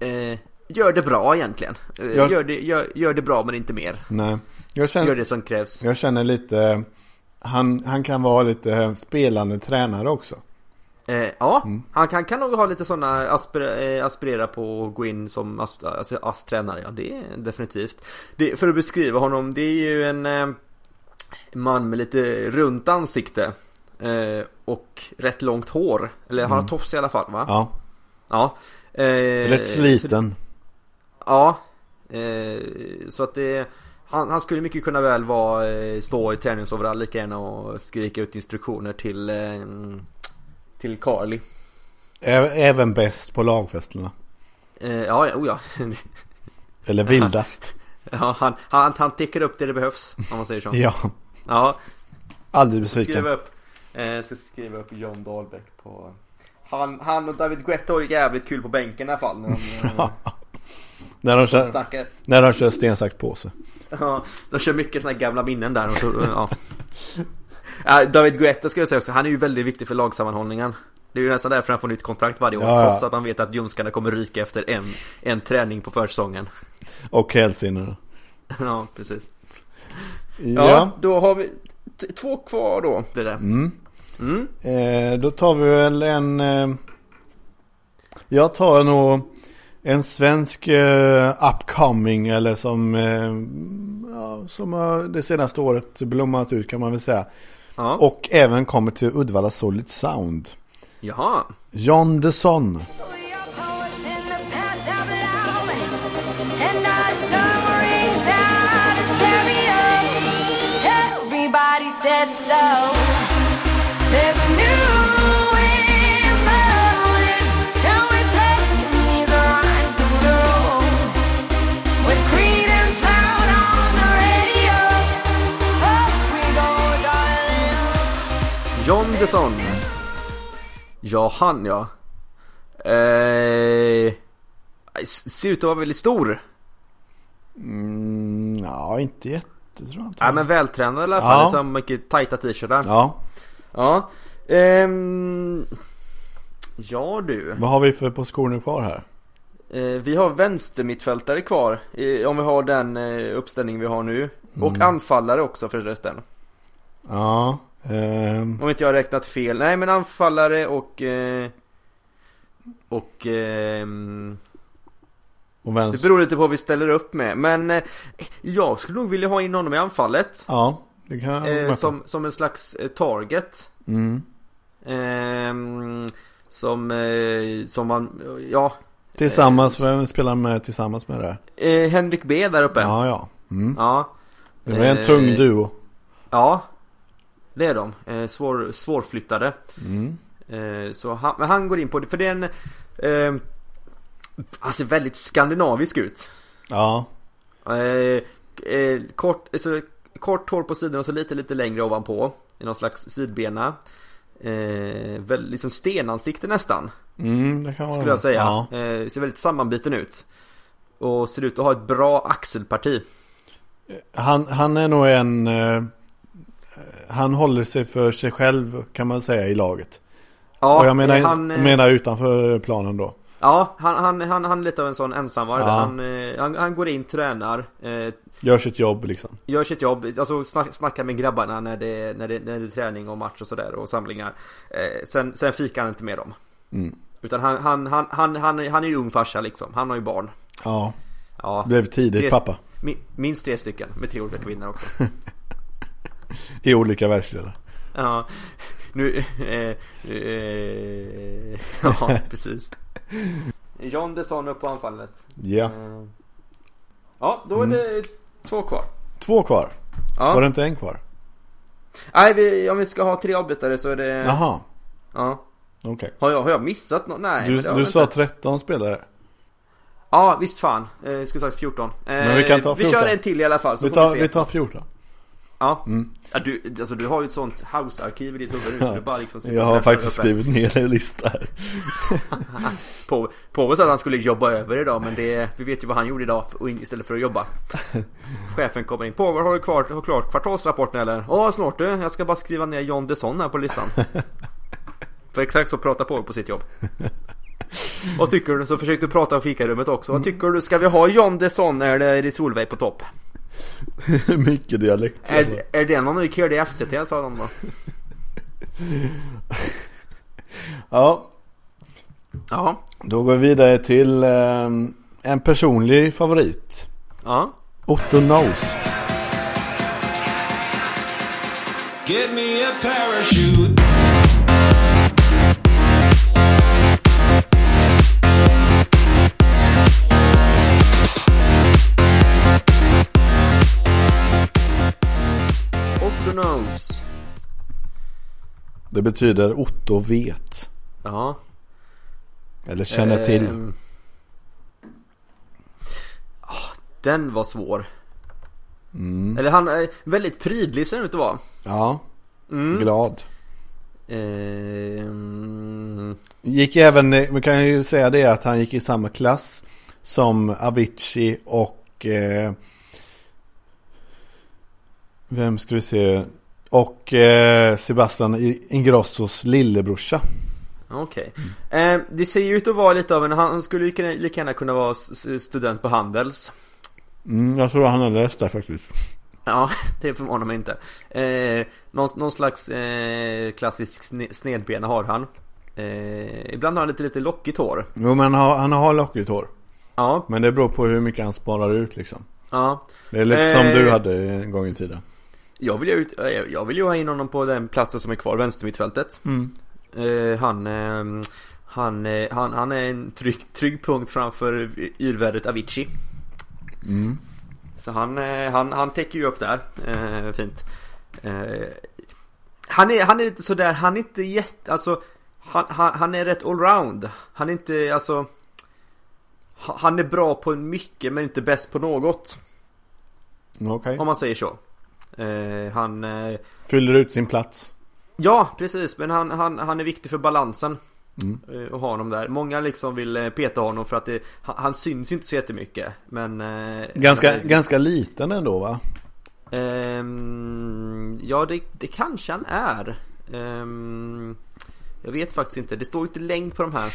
Eh, gör det bra egentligen. Eh,
Jag-
gör, det, gör, gör det bra men inte mer.
nej. Jag
Gör
känner,
det som krävs.
jag känner lite, han, han kan vara lite spelande tränare också.
Eh, ja,
Mm.
han kan, kan nog ha lite sådana aspira, eh, aspirera på att gå in som ast, alltså, ASS-tränare. Ja, det är definitivt. Det, för att beskriva honom, det är ju en eh, man med lite runt ansikte. Eh, och rätt långt hår. Eller han har tofs i alla fall va?
Mm. Ja,
Ja. Eh,
rätt
Så,
sliten.
ja. Eh, så att det... Han, han skulle mycket kunna väl vara, eh, stå i träningsoverall lika gärna och skrika ut instruktioner till, eh, till Carly.
Ä- Även bäst på lagfesterna.
Eh, ja, ja, oh ja.
Eller vildast.
ja han, han, han täcker upp det det behövs, om man säger så.
ja,
Ja,
aldrig
så skriva
besviken.
upp. Eh, så skriva upp John Dahlbäck på... Han, han och David Guetta har ju jävligt kul på bänken i alla fall. När de, eh,
När de kör,
snackar.
när de kör sten, sax, påse.
Ja, de kör mycket såna här gamla minnen där. Och så, eh, ja. Ja, David Guetta ska jag säga också, han är ju väldigt viktig för lagsammanhållningen. Det är ju nästan därför han får nytt kontrakt varje år.
Ja, ja.
Trots att man vet att ljumskarna kommer ryka efter en, en träning på försäsongen.
Och hälsenorna.
Ja, precis. Ja,
Ja.
då har vi t- två kvar då blir det.
Mm.
Mm.
Eh, då tar vi väl en... Eh, jag tar nog en svensk eh, upcoming eller som, eh, ja, som har det senaste året blommat ut kan man väl säga.
Ja.
Och även kommer till Uddevalla Solid Sound.
Jaha.
John Desson.
Everybody said so. There's a new wind blowing, and we're taking these rhymes to bloom. With credence found on the radio, up we go, darling.
John Desson. Ja, han ja. Eh, s- ser ut att vara väldigt stor.
Mm, ja, inte jätte tror jag inte.
Ja, men vältränad i alla fall.
Ja.
Liksom mycket tajta t-shirtar. Ja.
Ja.
Ehm, ja du.
Vad har vi för positioner kvar här?
Eh, vi har vänstermittfältare kvar. eh, om vi har den eh, uppställning vi har nu.
Mm.
Och anfallare också förresten.
Ja. ehm,
Om inte jag har räknat fel. Nej men anfallare och... Eh, och... ehm,
och
det
vänster.
beror lite på vad vi ställer upp med. Men eh, jag skulle nog vilja ha in honom i anfallet.
Ja, det kan jag
Eh,
med
som, som en slags eh, target.
på. mm.
Ehm, som, eh, som man, ja.
Tillsammans, vem spelar med tillsammans med det? här?
Eh, Henrik B där uppe. Ja.
Ja, ja. Mm.
Ja,
Det var en
Eh,
tung duo.
det är de. Eh, svår, svårflyttade.
Mm.
Eh, så han, men han går in på det, för det är en... Eh, han ser väldigt skandinavisk ut.
Ja,
Eh, eh, kort, alltså, kort hår på sidan och så lite, lite längre ovanpå. I någon slags sidbena. Eh, väl, liksom stenansikte nästan.
mm, det kan vara
skulle jag säga.
Ja.
Eh, ser väldigt sammanbiten ut. Och ser ut att ha ett bra axelparti.
Han, han är nog en... eh, han håller sig för sig själv kan man säga i laget.
Ja,
och jag menar,
eh, han, eh,
menar utanför planen då.
ja han, han, han, han är lite av en sån ensamvarg.
Ja.
Han, eh, han, han går in, tränar, eh,
Gör sitt jobb liksom.
gör sitt jobb, alltså snack, snackar med grabbarna när det, när, det, när det är träning och match och sådär och samlingar. Eh, sen, sen fikar han inte med dem.
Mm.
Utan han, han, han, han, han, är- han är ju ung farsa liksom, han har ju barn.
Ja,
Ja,
blev tidigt
Tre-
pappa.
mi- minst tre stycken med tre olika kvinnor också.
I olika världsdelar.
Ja, nu... Eh, eh, ja, precis. John Desson upp på anfallet.
Ja.
Eh, Ja, då är det två kvar.
Två kvar. Var det
Ja.
inte en kvar?
Nej, vi, om vi ska ha tre avbytare så är det...
Jaha,
Ja.
okej.
Har, jag, har jag missat något? Nej.
Du,
men det har
du
jag
sa
inte.
13 spelare.
Ja, visst fan. Eh, jag skulle sagt 14. Eh,
Men vi kan ta
Vi
14.
kör en till i alla fall så
Vi
får
tar, Mm.
vi se.
vi tar 14.
Ja. ja du, alltså, du har ju ett sånt house-arkiv i ditt huvud nu så du bara liksom sitter
Jag
och
har
räknar
faktiskt
upp en.
skrivit ner en lista här.
Påve Påve sa att han skulle jobba över idag men det, vi vet ju vad han gjorde idag för, och in- istället för att jobba. Chefen kommer in. Påve har du kvar, har klart kvartalsrapporten eller? Ja snart du, jag ska bara skriva ner John Desson här på listan. för exakt så pratar Påve på sitt jobb. Vad tycker du? Så försökte du prata i fikarummet också. Vad tycker du? Ska vi ha John Desson eller är det Solveig på topp?
Mycket dialekt.
Är, är det någon ny kille i FCT? sa de då.
Ja,
Ja.
då går vi vidare till ehm, en personlig favorit.
Ja.
Otto Nose.
Get me a parachute.
Otto Nose.
Det betyder Otto vet.
Ja.
Eller känner till.
Ehm. Ah, Den var svår.
Mm.
Eller han är väldigt prydlig ser han ut att vara.
Ja,
Mm.
glad.
Ehm,
Gick även, eh, vi kan ju säga det att han gick i samma klass som Avicii och eh, Vem ska vi se? Och eh, Sebastian I- Ingrossos lillebrorsa.
Okej.
Mm.
Ehm, det ser ju ut att vara lite av en, han skulle ju kunna- lika gärna kunna vara s- s- student på Handels.
Mm, jag tror han har läst det faktiskt.
Ja, det förvånar mig inte. Eh, någon, någon slags eh, klassisk sne, snedbena har han. Eh, ibland har han lite, lite lockigt hår.
Jo men han har, han har lockigt hår.
Ja,
Men det beror på hur mycket han sparar ut liksom.
ja.
Det är lite som
Eh.
du hade en gång i tiden.
Jag vill ju, ut, eh, jag vill ju ha in honom på den platsen som är kvar, vänstermittfältet. Eh, han, ehm, han, eh, han, han är en trygg, trygg punkt framför yrvädret Avicii. Så han, eh, han, han täcker ju upp där, eh, fint. Eh, han, är, han är lite sådär, han är inte jätte, alltså han, han, han är rätt allround. Han är inte, alltså ha- han är bra på mycket men inte bäst på något. Mm,
Okej.
Om man säger så. Eh, han, eh,
Fyller ut sin plats.
Ja, precis. Men han, han, han är viktig för balansen. eh, Och ha honom där. Många liksom vill eh, peta honom för att det, han, han syns inte så jättemycket. Men... eh,
Ganska,
han är-
ganska liten ändå va?
Ehm, ja, det, det kanske han är. Ehm, jag vet faktiskt inte, det står ju inte längd på de här.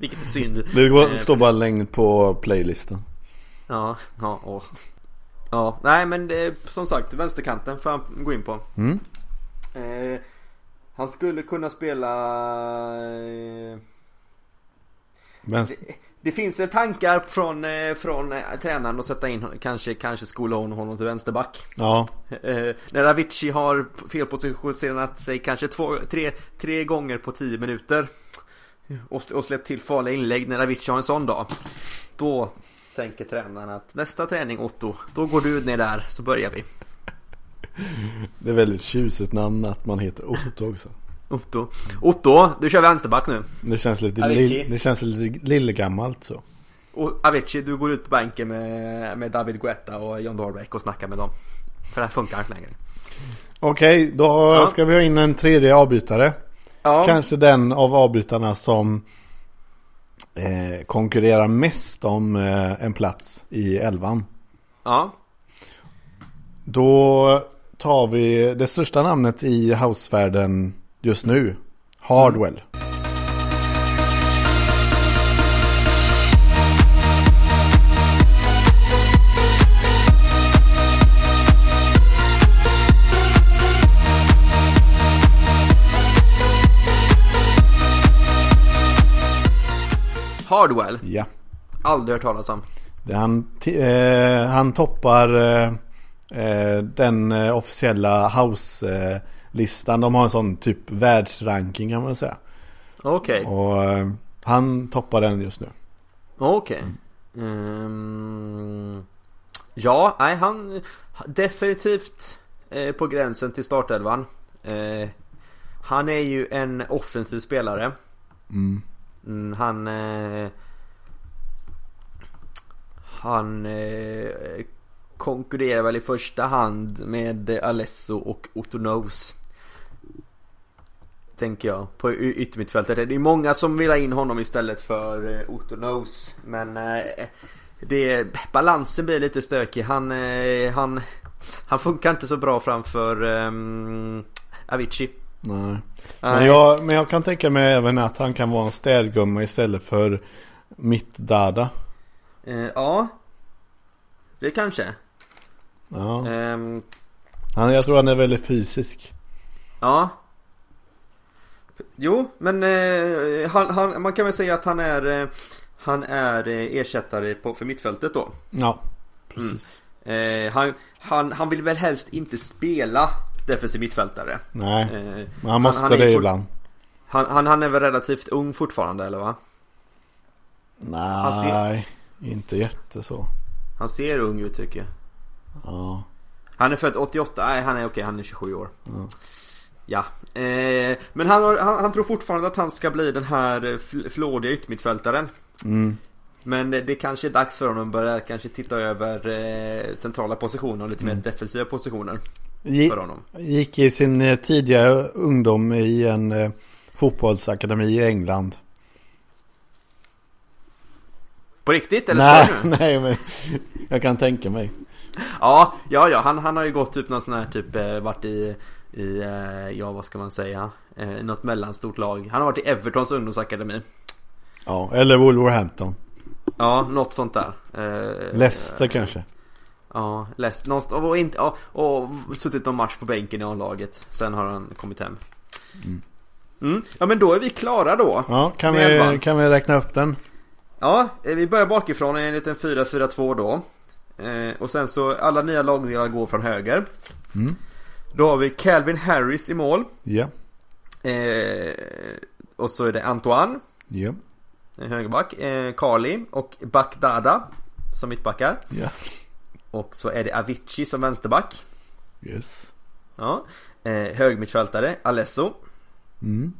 Vilket är synd.
Det
Eh,
går, står bara längd på playlisten.
Ja, ja, åh. Ja, nej men det, som sagt vänsterkanten får han gå in på.
Mm.
Eh, han skulle kunna spela... Eh,
Vänster,
det finns väl tankar från, eh, från eh, tränaren att sätta in kanske, kanske skola hon honom till vänsterback.
ja,
Eh, när Avicii har felpositionerat sig kanske två, tre, tre gånger på tio minuter och, sl- och släppt till farliga inlägg när Avicii har en sån dag. Då tänker tränaren att nästa träning Otto, då går du ner där så börjar vi.
det är väldigt tjusigt namn att man heter Otto också.
Otto, Otto, du kör vänsterback nu.
Det känns lite,
Avicii.
lill, det känns lite lillegammalt så.
Och Avicii, du går ut på bänken med, med David Guetta och John Dahlbeck och snackar med dem. För det här funkar inte längre.
Okej, då
Ja.
ska vi ha in en tredje avbytare.
Ja,
Kanske den av avbytarna som eh, konkurrerar mest om eh, en plats i elvan.
ja.
Då tar vi det största namnet i housevärlden just nu. Hardwell.
Hardwell,
Ja.
aldrig hört talas om.
Det är Han, ti- eh, han toppar eh, eh, den eh, officiella house-listan. De har en sån typ världsranking kan man säga.
Okej.
Och eh, han toppar den just nu.
Okej. Ehm, ja, nej han definitivt eh, på gränsen till startelvan. Eh, han är ju en offensiv spelare.
Mm.
Mm, han eh, han eh, konkurrerar väl i första hand med Alesso och Otto Nose. Tänker jag på y- yttermittfältet. Det är många som vill ha in honom istället för eh, Otto Nose. Men eh, det, balansen blir lite stökig. Han, eh, han, han funkar inte så bra framför ehm, Avicii.
Nej. Men
Nej.
jag, men jag kan tänka mig även att han kan vara en städgumma istället för mitt dada.
Eh, ja, det kanske.
Ja.
Ehm,
Han, jag tror han är väldigt fysisk.
Ja. Jo, men eh, han, han, man kan väl säga att han är, eh, han är eh, ersättare på, för mittfältet då.
Ja,
Mm.
precis.
Eh, han, han, han vill väl helst inte spela defensiv mittfältare.
Nej,
Eh,
men han måste
han är
det
fort-
ibland.
han, han, han är väl relativt ung fortfarande eller va?
Nej, inte jätte så.
Han ser ung ut tycker jag.
Ja.
Han är född 88, nej han är okej, han är 27 år.
Ja.
Ja, eh, men han, har, han, han tror fortfarande att han ska bli den här eh, fl- flådiga yttermittfältaren.
Mm.
Men det, det kanske är dags för honom att börja kanske titta över eh, centrala positioner och lite
Mm.
mer defensiva positioner
Gi-
för honom.
Gick i sin eh, tidiga ungdom i en eh, fotbollsakademi i England.
På riktigt eller
nej,
ska du nu?
nej, men jag kan tänka mig.
Ja, ja, ja, han, han har ju gått typ någon sån här typ eh, varit i, i eh, ja vad ska man säga, eh, något mellanstort lag. Han har varit i Evertons ungdomsakademi.
Ja, eller Wolverhampton.
Eh. Ja, något sånt där. Eh,
Leicester
eh,
kanske.
Ja, Leicester. Någonstans, och, inte, och, och suttit någon match på bänken i A-laget. Sen har han kommit hem. Mm. Ja men då är vi klara då.
Ja, kan
med
vi,
elvan.
kan vi räkna upp den?
Ja, eh, vi börjar bakifrån i en liten 4-4-2 då. Eh, och sen så alla nya lagdelar går från höger.
Mm.
Då har vi Calvin Harris i mål.
Ja,
Eh, och så är det Antoine,
ja,
eh, högerback. Eh, Carly och Bakdada som mittbackar.
ja.
Och så är det Avicii som vänsterback.
Yes.
Ja. Eh, högermittfältare, Alesso.
Mm.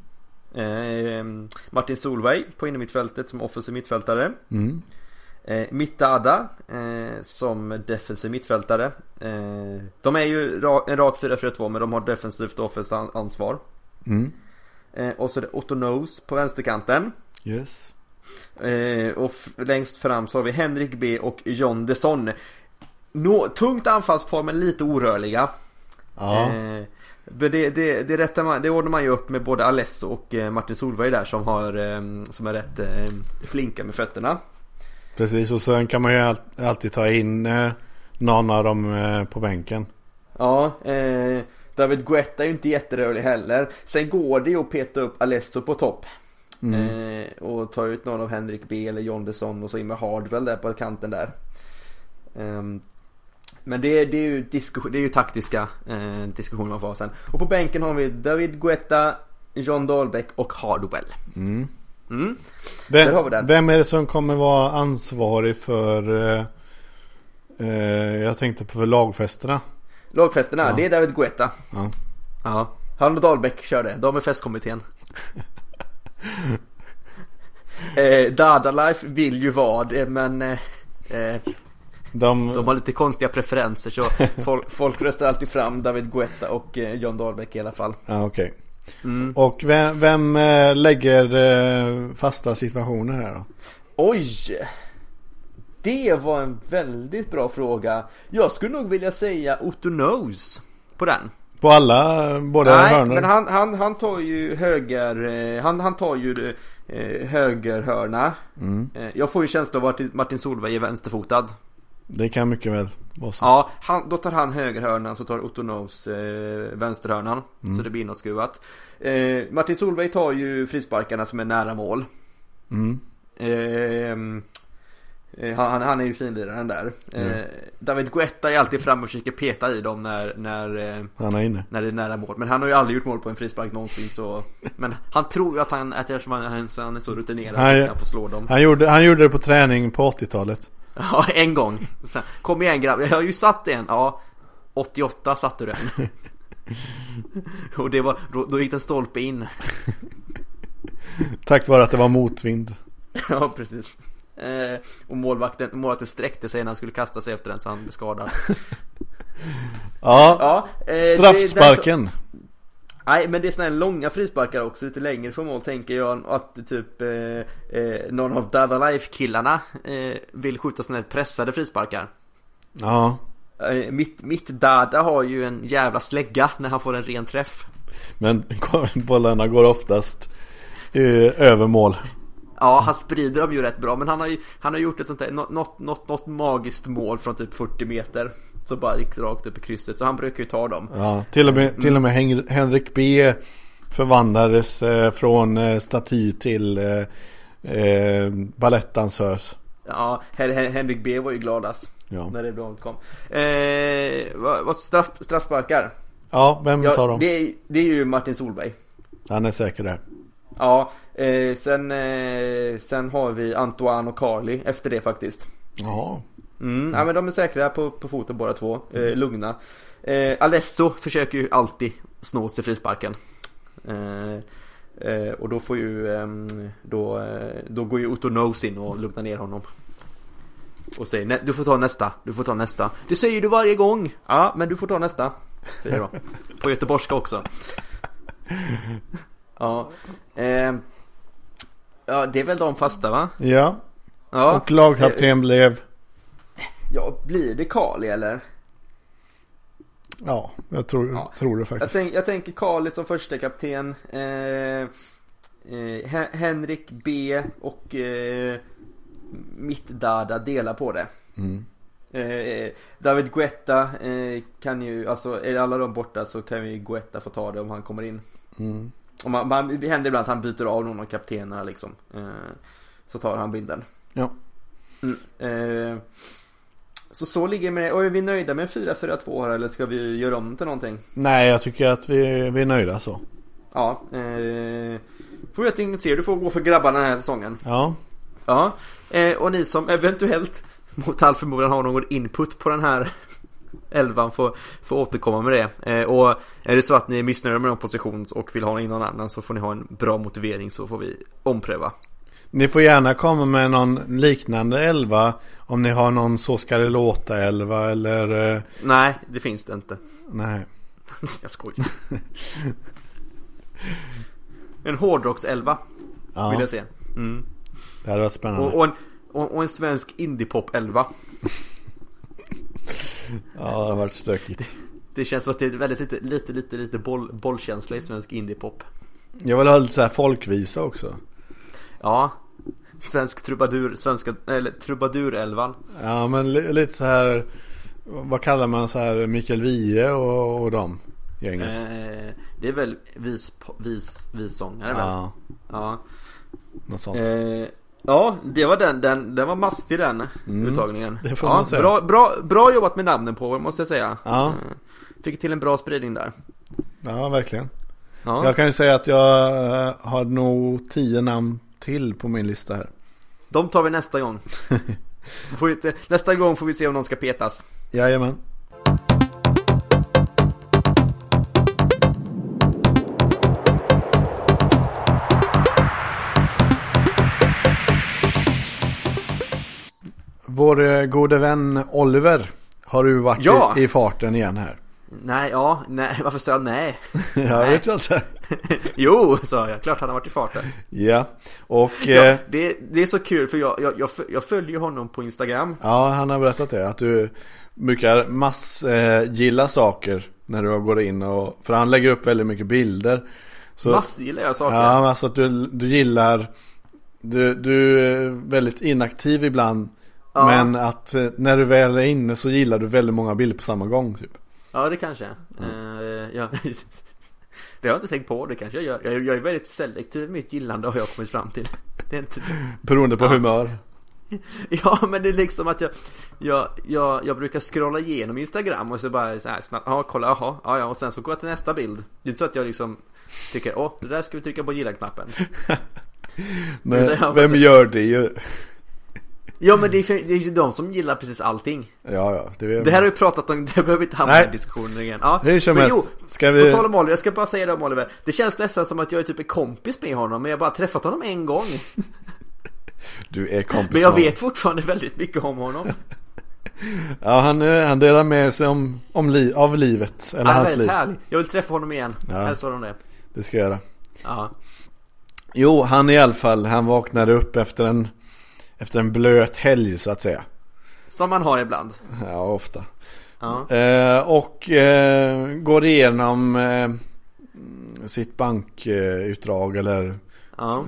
Eh, Martin Solveig på innermittfältet som offensiv mittfältare.
Mm.
Eh, Mittada eh, som defensiv mittfältare. Eh, de är ju ra- en rak 4-4-2 men de har defensivt och offensivt an- ansvar.
Mm.
Eh, och så är det Otto Nose på vänsterkanten.
Yes.
Eh, och f- längst fram så har vi Henrik B och John Desson. Nå- tungt anfallspar men lite orörliga.
Ja.
Eh, men det, det, det, rättar man, det ordnar man ju upp med både Alesso och eh, Martin Solveig där som, har, eh, som är rätt eh, flinka med fötterna.
Precis och sen kan man ju all- alltid ta in eh, någon av dem eh, på bänken.
Ja, eh, David Guetta är ju inte jätterörlig heller. Sen går det ju att peta upp Alesso på topp. Eh, och ta ut någon av Henrik B eller Jondesson och så in med Hardwell där på kanten där. Ehm, men det, det, är ju diskussion, det är ju taktiska eh, diskussioner man får ha sen. Och på bänken har vi David Guetta, John Dahlbäck och Hardwell. Mm. Där har vi den.
Vem, vem är det som kommer vara ansvarig för eh, eh, Jag tänkte på för lagfesterna.
Lagfesterna,
Ja.
det är David Guetta.
Ja.
Ja, han och Dahlbäck kör det. De är festkommittén. eh, Dadalife vill ju vara det men eh, eh,
De,
de har lite konstiga preferenser så folk, folk röstar alltid fram David Guetta och eh, John Dahlbäck i alla fall.
ja, ah, okej.
Mm.
Och vem, vem eh, lägger eh, fasta situationer här då?
Oj! Det var en väldigt bra fråga. Jag skulle nog vilja säga Otto Knows på den.
På alla, eh, båda
Nej,
hörnor?
men han, han, han tar ju höger... eh, Han, han tar ju eh, högerhörna. Eh, Jag får ju känslan av att Martin Solveig är vänsterfotad.
Det kan mycket väl vara så.
Ja, han, då tar han högerhörnan så tar Otto Knows eh, vänsterhörnan. Så det blir inåtskruvat. Eh, Martin Solveig tar ju frisparkarna som är nära mål.
Mm.
Ehm, eh, han, han- han är ju finliraren där. Eh, David Guetta är alltid framme och försöker peta i dem när, när eh,
Han är inne.
när det är nära mål. Men han har ju aldrig gjort mål på en frispark någonsin så... Men han tror ju att han, att eftersom han, han är så rutinerad
Nej.
så ska han få slå dem.
Han gjorde, han gjorde det på träning på 80-talet.
Ja, en gång. Sen, kom igen grabb, jag har ju satt en. Ja, 88 satte du den. Och det var, då, då gick den stolpe in.
Tack vare att det var motvind.
Ja, precis. Eh, och målvakten, målvakten sträckte sig när han skulle kasta sig efter den så han blev skadad.
Ja,
Ja, eh, det-
straffsparken.
Nej men det är såna här långa frisparkar också, lite längre från mål tänker jag att typ eh, eh, någon av Dada Life killarna eh, vill skjuta såna här pressade frisparkar.
Ja.
Eh, mitt, mitt Dada har ju en jävla slägga när han får en ren träff.
Men bollarna går oftast eh, över mål.
Ja, han sprider dem ju rätt bra men han har ju han har gjort ett sånt där, nå- något, något, något magiskt mål från typ 40 meter. Så bara gick rakt upp i krysset, så han brukar ju ta dem.
Ja, till och
Mm.
med, till och med Hen- Henrik B förvandlades eh, från eh, staty till eh, eh, balettdansös.
Ja, Hen- Hen- Henrik B var ju gladast
Ja.
när det blått kom. Eh, vad, vad straff, straffsparkar?
ja, vem tar
Ja,
dem?
det, är, det är ju Martin Solberg.
Han är säker där.
Ja, eh, sen, eh, sen har vi Antoine och Carly efter det faktiskt.
Ja,
Mm, ja, men de är säkra på, på foten båda två, eh, lugna. Eh, Alesso försöker ju alltid snå åt sig frisparken. Eh, eh, och då får ju, ehm, då, eh, då går ju Otto Nose in och lugnar ner honom. Och säger "Nä- du får ta nästa, du får ta nästa. Det säger du varje gång! Ja, men du får ta nästa. Säger de. På göteborgska också. Ja. ehm, ja, det är väl de fasta va?
ja.
Ja. Eh,
och lagkapten blev...
Ja, blir det Kali eller?
Ja, jag tror,
Ja.
tror det
Jag,
faktiskt.
tänk, jag tänker Kali som första kapten eh, eh, Hen- Henrik B och eh, mitt Dada delar på det.
Mm.
Eh, David Guetta eh, kan ju, alltså är alla de borta så kan ju Guetta få ta det om han kommer in.
Mm.
Och man, man, det händer ibland att han byter av någon av kaptenerna liksom. Eh, så tar han binden.
Ja.
Mm, eh, så så ligger det med det. Och är vi nöjda med 4-4-2 här eller ska vi göra om det till någonting?
Nej, jag tycker att vi, vi är nöjda så.
Ja. Eh, får jag tänka se, du får gå för grabbarna den här säsongen.
Ja,
Ja. Eh, och ni som eventuellt mot all förmodan har någon input på den här elvan får, får återkomma med det. Eh, och är det så att ni är missnöjda med någon position och vill ha in någon annan så får ni ha en bra motivering så får vi ompröva.
Ni får gärna komma med någon liknande elva. Om ni har någon Så ska det låta elva eller... eh,
Nej, det finns det inte.
Nej.
Jag skojar. En hårdrockselva vill
Ja,
jag se. Mm.
det hade varit spännande.
Och, och, en, och, och en svensk indiepop elva.
Ja, det har varit stökigt.
Det känns som att det är väldigt lite, lite, lite, lite boll, bollkänsla i svensk indiepop.
Jag vill ha lite så här folkvisa också.
Ja. Svensk trubadur, svenska, eller trubadurälvan.
Ja men li- lite så här. Vad kallar man så här Mikael Wiehe och, och dem gänget?
Eh, det är väl vis, vis, vissångare väl?
ja,
Ja.
något sånt.
Eh, ja, det var den, den, den var mastig den uttagningen.
Mm. det får
ja,
man säga.
Bra, bra, bra jobbat med namnen på måste jag säga.
Ja.
Eh, Fick till en bra spridning där.
Ja verkligen.
Ja,
Jag kan ju säga att jag eh, har nog tio namn till på min lista här.
de tar vi nästa gång. Får vi, inte- nästa gång får vi se om någon ska petas.
Jajamän. Vår eh, gode vän Oliver har ju varit
Ja!
i, i farten igen här.
Nej, ja, nej, varför sa jag nej?
Jag vet jag inte.
jo, sa jag, klart han har varit i farten.
Ja, och
Ja,
eh,
det, det är så kul för jag, jag, jag, föl- jag följer honom på Instagram.
ja, han har berättat det. Att du brukar massgilla saker när du går in och, för han lägger upp väldigt mycket bilder. Så,
Massgillar jag saker.
Ja, men alltså att du, du gillar du, du är väldigt inaktiv ibland
Ja.
Men att eh, när du väl är inne så gillar du väldigt många bilder på samma gång typ
Ja det kanske Eh, ja. Det har jag inte tänkt på, det kanske jag gör jag, jag är väldigt selektiv i mitt gillande har jag kommit fram till det är inte...
Beroende på humör
Ja men det är liksom att jag jag, jag jag brukar scrolla igenom instagram och så bara så här snabbt, ja kolla, jaha, ja ja och sen så går jag till nästa bild Det är inte så att jag liksom tycker, åh det där ska vi trycka på gilla-knappen
Men
Utan jag-
vem gör det ju?
Ja men det är, för, det är ju de som gillar precis allting
Ja, ja, det, är,
Det här har vi pratat om, det behöver vi inte hamna i
Nej.
den diskussionen igen ja,
Hur som
men
helst,
jo,
ska vi...
På tal om Oliver, jag ska bara säga det om Oliver. Det känns nästan som att jag är typ en kompis med honom, men jag har bara träffat honom en gång.
Du är kompis
Men jag
med
vet fortfarande väldigt mycket om honom.
honom. Ja, han, eh, han delar med sig om, om li, av livet Eller
Han är
hans liv
väldigt härlig. Jag vill träffa honom igen.
Ja.
Hälsa honom det.
Det ska jag göra
Ja.
Jo, han i alla fall, han vaknade upp efter en Efter en blöt helg så att säga
Som man har ibland.
Ja, ofta
Ja.
Eh, och eh, går igenom eh, sitt bankutdrag eller
Ja.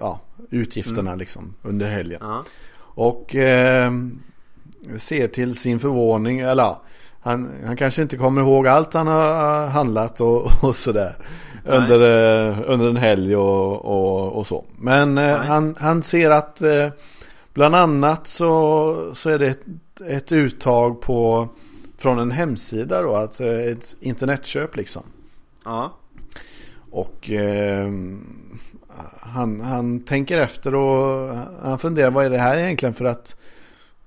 ja, utgifterna liksom under helgen.
Ja.
Och eh, ser till sin förvåning, eller ja, han, han kanske inte kommer ihåg allt han har handlat och, och sådär. Under, eh, under en helg och, och, och så. Men eh, han, han ser att eh, bland annat så, så är det ett, ett uttag på från en hemsida då, att, eh, ett internetköp liksom.
Ja.
Och eh, han, han tänker efter och han funderar vad är det här egentligen för att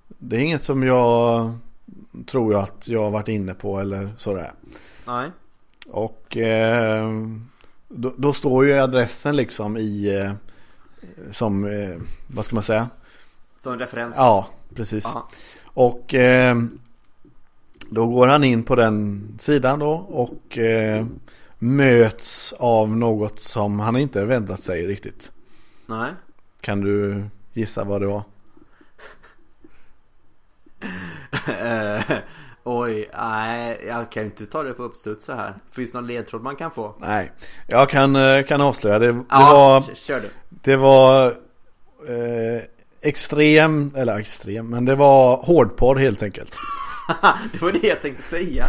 det är inget som jag tror jag att jag har varit inne på eller sådär.
Nej.
Och eh, då, då står ju adressen liksom i eh, som, eh, vad ska man säga?
Som en referens.
Ja, precis.
Ja.
Och eh, då går han in på den sidan då och eh, möts av något som han inte väntat sig riktigt.
Nej.
Kan du gissa vad det var?
Eh, Oj, nej, jag kan ju inte ta det på uppstuds så här. Finns det någon ledtråd man kan få?
Nej, jag kan, eh, kan avslöja. Det, det
Ja,
var,
k- kör du.
det var eh, extrem, eller extrem, men det var hårdporr helt enkelt.
det var det jag tänkte säga.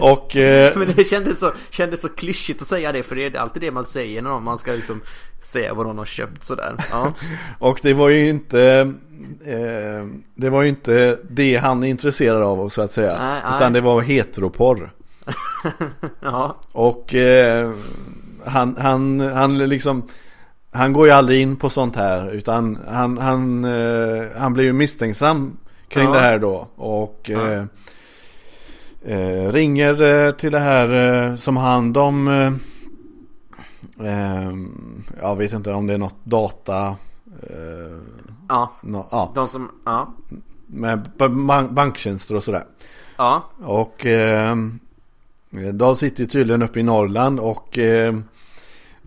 Och eh,
Men det kändes så, kändes så klyschigt att säga det för det är alltid det man säger när någon- man ska liksom säga vad någon har köpt sådär. Ja.
Och det var ju inte eh, Det var ju inte det han är intresserad av så att säga
Nej, nej.
Utan det var heteroporr
ja.
Och eh, han, han, han liksom Han går ju aldrig in på sånt här utan han, han, eh, han blir ju misstänksam kring
Ja.
det här då och eh, eh, ringer eh, till det här eh, som har hand om eh, eh, Jag vet inte om det är något data eh,
ja.
nå- ja,
De som, ja.
med ba- ban- banktjänster och sådär.
Ja.
Och eh, de sitter ju tydligen uppe i Norrland och eh,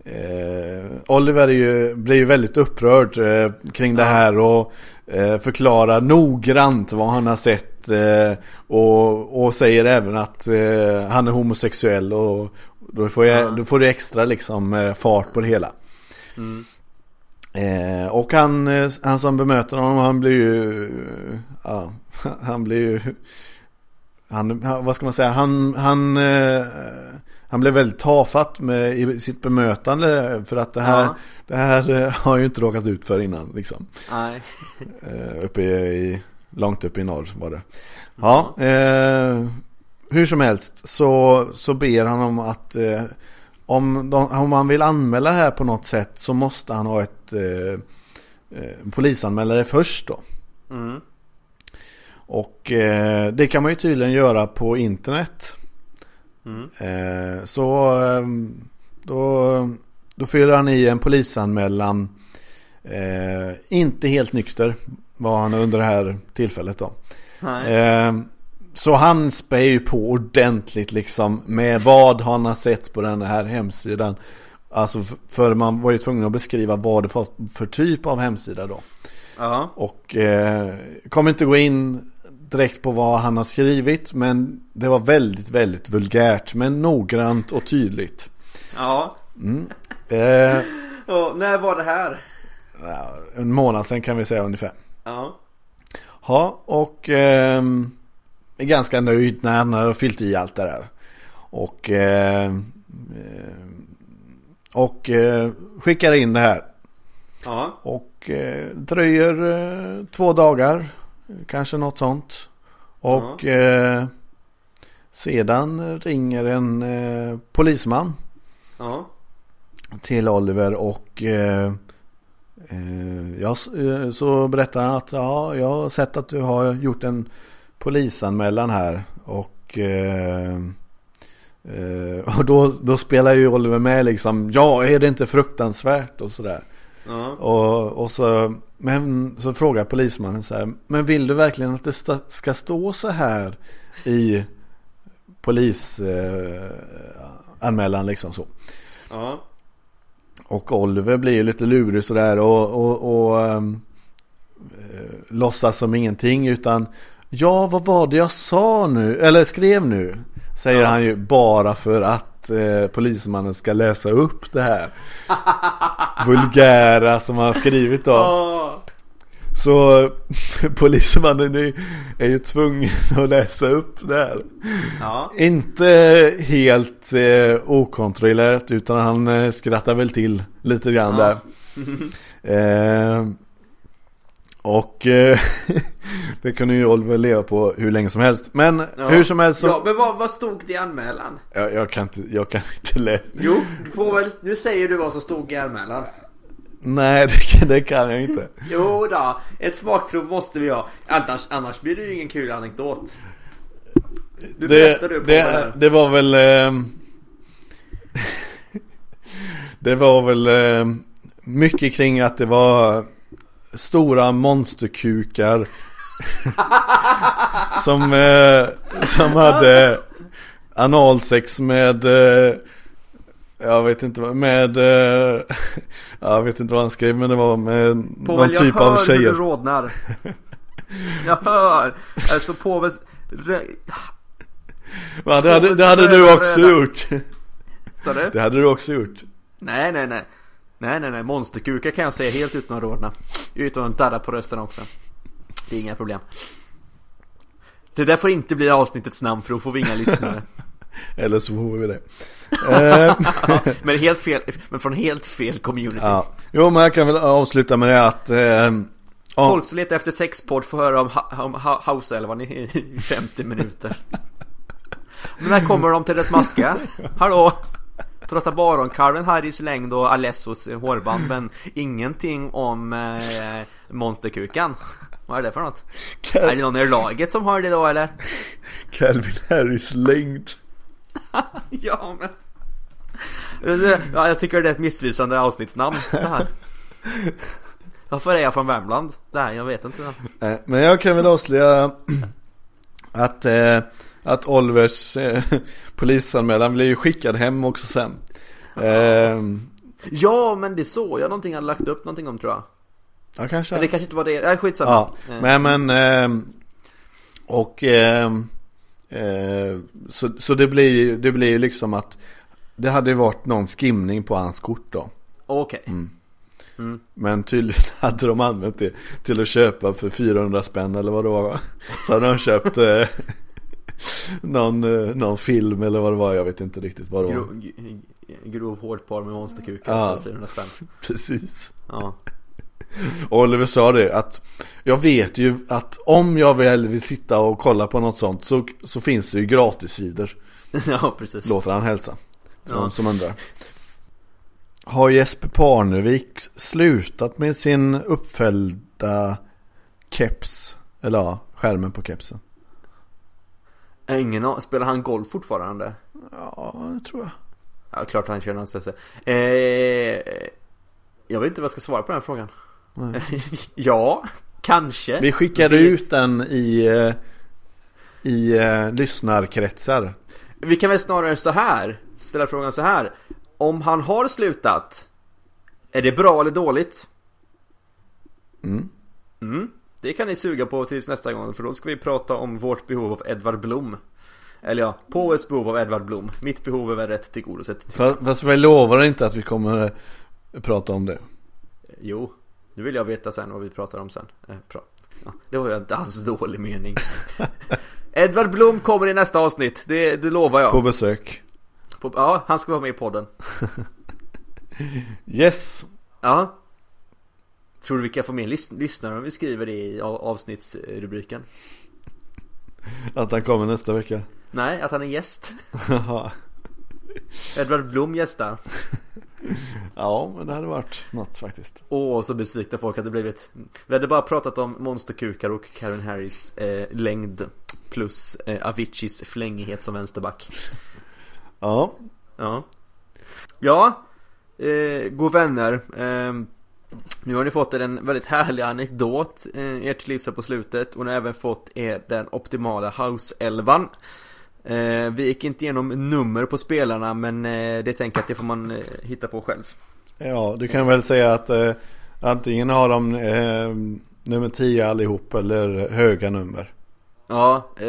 Eh, Oliver är ju, blir ju väldigt upprörd eh, kring det här och eh, förklarar noggrant vad han har sett eh, och, och säger även att eh, han är homosexuell och då får, jag, då får det extra liksom eh, fart på det hela. Eh, och han, eh, han som bemöter honom han blir ju, eh, ja, han blir ju, han, han- vad ska man säga, han, han, eh, han blev väldigt tafatt med, i sitt bemötande för att det här,
Ja.
det här eh, har ju inte råkat ut för innan liksom.
Nej.
Eh, uppe i, långt upp i norr var det. Ja, eh, hur som helst så, så ber han om att eh, om, de, om han vill anmäla det här på något sätt så måste han ha ett eh, eh, polisanmälare först då.
Mm.
Och eh, det kan man ju tydligen göra på internet.
Mm.
Eh, så eh, då, då fyller han i en polisanmälan. Eh, inte helt nykter var han under det här tillfället då.
Nej.
Eh, så han spär ju på ordentligt liksom med vad han har sett på den här hemsidan. Alltså f- för man var ju tvungen att beskriva vad det var för typ av hemsida då.
Ja.
Och eh, kommer inte gå in direkt på vad han har skrivit men det var väldigt, väldigt vulgärt men noggrant och tydligt.
Ja.
Eh,
Och när var det här?
ja, en månad sen kan vi säga ungefär.
Ja.
Ja, och ehm, är ganska nöjd när han har fyllt i allt det där. Och, ehm, ehm, och eh, skickar in det här.
Ja.
Och eh, dröjer eh, två dagar, kanske något sånt. Och eh, sedan ringer en eh, polisman
Ja.
till Oliver och eh, eh, jag, s- eh, så berättar han att ja, jag har sett att du har gjort en polisanmälan här och eh, eh, och då, då spelar ju Oliver med liksom Ja, är det inte fruktansvärt och sådär
Ja.
och, och så, men, så frågar polismannen så här Men vill du verkligen att det sta, ska stå så här i polisanmälan eh, anmälan liksom så
Ja.
och Oliver blir ju lite lurig sådär och, och, och ehm, eh, låtsas som ingenting utan Ja vad var det jag sa nu eller skrev nu Säger
Ja.
han ju bara för att eh, polismannen ska läsa upp det här Vulgära som han har skrivit då
Ja.
Så polismannen är, är ju tvungen att läsa upp det här
Ja.
inte helt eh, okontrollerat utan han eh, skrattar väl till lite grann
Ja.
där. Eh, och eh, det kunde ju Oliver leva på hur länge som helst. Men
Ja.
hur som helst så...
Ja, men vad, vad stod det i anmälan?
jag, jag kan inte, jag kan inte läsa.
Jo, du får väl, nu säger du vad som stod i anmälan.
Nej, det, kan- det kan jag inte.
Jo då, ett smakprov måste vi ha. Annars, annars blir det ju ingen kul anekdot. Du berättar du på det,
det,
här.
det var väl... ehm, det var väl ehm, mycket kring att det var stora monsterkukar. som, eh, som hade analsex med... eh, jag vet inte vad, med... eh, jag vet inte vad han skrev men det var med någon
jag
typ
hör
av
hur du
tjejer.
rodnar. Jag hör. Alltså påvens... rö-
Ja, det, hade, det
Rosen
hade du
röda,
också
röda.
gjort.
Sa du?
Det hade du också gjort.
Nej, nej, nej. Nej, nej, nej. Monsterkuka kan jag säga helt utan att rodna. Utan att darra på rösten också. Det är inga problem. Det där får inte bli avsnittets namn för då får vi inga lyssnare.
Eller så får vi det. Eh,
Men, helt fel, men från helt fel community.
ja. Jo men jag kan väl avsluta med det att eh, ja,
Folk som letar efter sexpodd får höra om, ha- om ha- Houseälvan i i 50 minuter. Men när kommer de till dess maska? Hallå? Prata bara om Calvin Harris längd och Alessos eh, hårband men ingenting om eh, monterkukan. Vad är det för något? Är det
Cal-
någon i laget som har det då eller?
Calvin Harris längd.
Ja men... Ja, jag tycker det är ett missvisande avsnittsnamn det här. Varför är jag från Värmland? Nej, jag vet inte.
Eh, men jag kan väl avslöja att, eh, att Olvers eh, polisanmälan blev ju skickad hem också sen. Eh,
Ja, men det såg jag någonting hade lagt upp någonting om tror jag.
Ja, kanske.
Men det kanske inte var det. Nej, skitsamma.
Ja,
Eh,
men, men ehm, och ehm, eh, så, så det blir ju det blir ju liksom att det hade ju varit någon skimning på hans kort då.
Okej.
Mm. Men tydligen hade de använt det till att köpa för 400 spänn eller vad det var. va? Så hade de köpt eh, någon, eh, någon film eller vad det var. Jag vet inte riktigt vad det var.
Grov, g- grov hårdporr med monsterkukar
Ja.
för 400 spänn.
Precis.
Ja.
Och Oliver sa det att jag vet ju att om jag väl vill sitta och kolla på något sånt så, så finns det ju gratissidor.
ja, precis.
Låter han hälsa. För
Ja.
De som undrar. Har Jesper Parnevik slutat med sin uppfällda keps? Eller ja, skärmen på kepsen.
Ingen aning. Spelar han golf fortfarande?
Ja, det tror jag.
Ja, klart han kör någon slags- eh, Jag vet inte vad jag ska svara på den här frågan. ja, kanske.
Vi skickade
Vi-
ut den i, eh, i eh, lyssnarkretsar.
Vi kan väl snarare så här ställa frågan så här. Om han har slutat, är det bra eller dåligt?
Mm.
Mm. Det kan ni suga på tills nästa gång för då ska vi prata om vårt behov av Edvard Blom. Eller ja, Powells behov av Edvard Blom. Mitt behov är väl rätt tillgodosett.
Fast, fast vi lovar inte att vi kommer eh, prata om det.
Jo, nu vill jag veta sen vad vi pratar om sen. Eh, pra- ja, det var ju inte alls dålig mening. Edvard Blom kommer i nästa avsnitt, det, det lovar jag.
På besök.
På- ja, han ska vara med i podden.
Yes.
Ja. Tror du vi kan få med lys- lyssnare om vi skriver det i a- avsnittsrubriken?
Att han kommer nästa vecka.
Nej, att han är gäst. Edvard Blom gästar.
ja, men det hade varit något faktiskt.
Åh, så besvikna folk hade blivit. Vi hade bara pratat om monsterkukar och Karen Harris eh, längd. Plus eh, Aviciis flängighet som vänsterback.
Ja,
Ja. Ja. Eh, god vänner. Eh, nu har ni fått er en väldigt härlig anekdot. Eh, ert livs här på slutet. Och ni har även fått er den optimala house-elvan. Eh, vi gick inte igenom nummer på spelarna men eh, det tänker jag att det får man eh, hitta på själv.
ja du kan väl säga att eh, antingen har de eh, nummer 10 allihop eller höga nummer.
Ja, eh,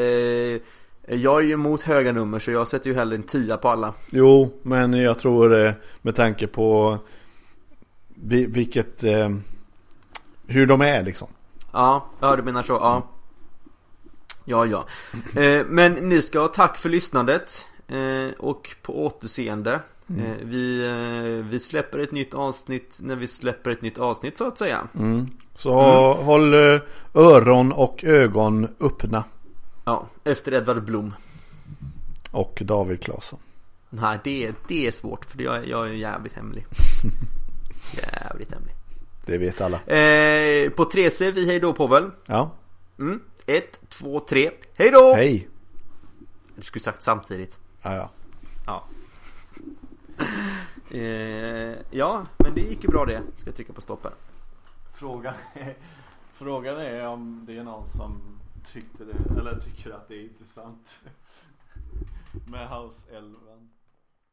jag är ju emot höga nummer så jag sätter ju hellre en tia på alla.
Jo, men jag tror eh, med tanke på vi- vilket eh, hur de är liksom.
Ja, ja du menar så, ja. Ja, ja. Eh, men ni ska ha tack för lyssnandet. Eh, och på återseende. Eh, vi, eh, vi släpper ett nytt avsnitt när vi släpper ett nytt avsnitt så att säga.
Så håll eh, öron och ögon öppna.
Ja, efter Edvard Blom.
Och David Claesson.
Nej, det, det är svårt för jag, jag är jävligt hemlig. jävligt hemlig.
Det vet alla.
Eh, på tre säger vi hej då Povel.
Ja,
Mm. Ett, två, tre. Hej då!
hej.
Du skulle sagt samtidigt.
Ja, ja.
Ja. Eh, ja, men det gick ju bra det. Ska jag trycka på stopp här.
Frågan är, frågan är om det är någon som tyckte det, eller tycker att det är intressant med House 11.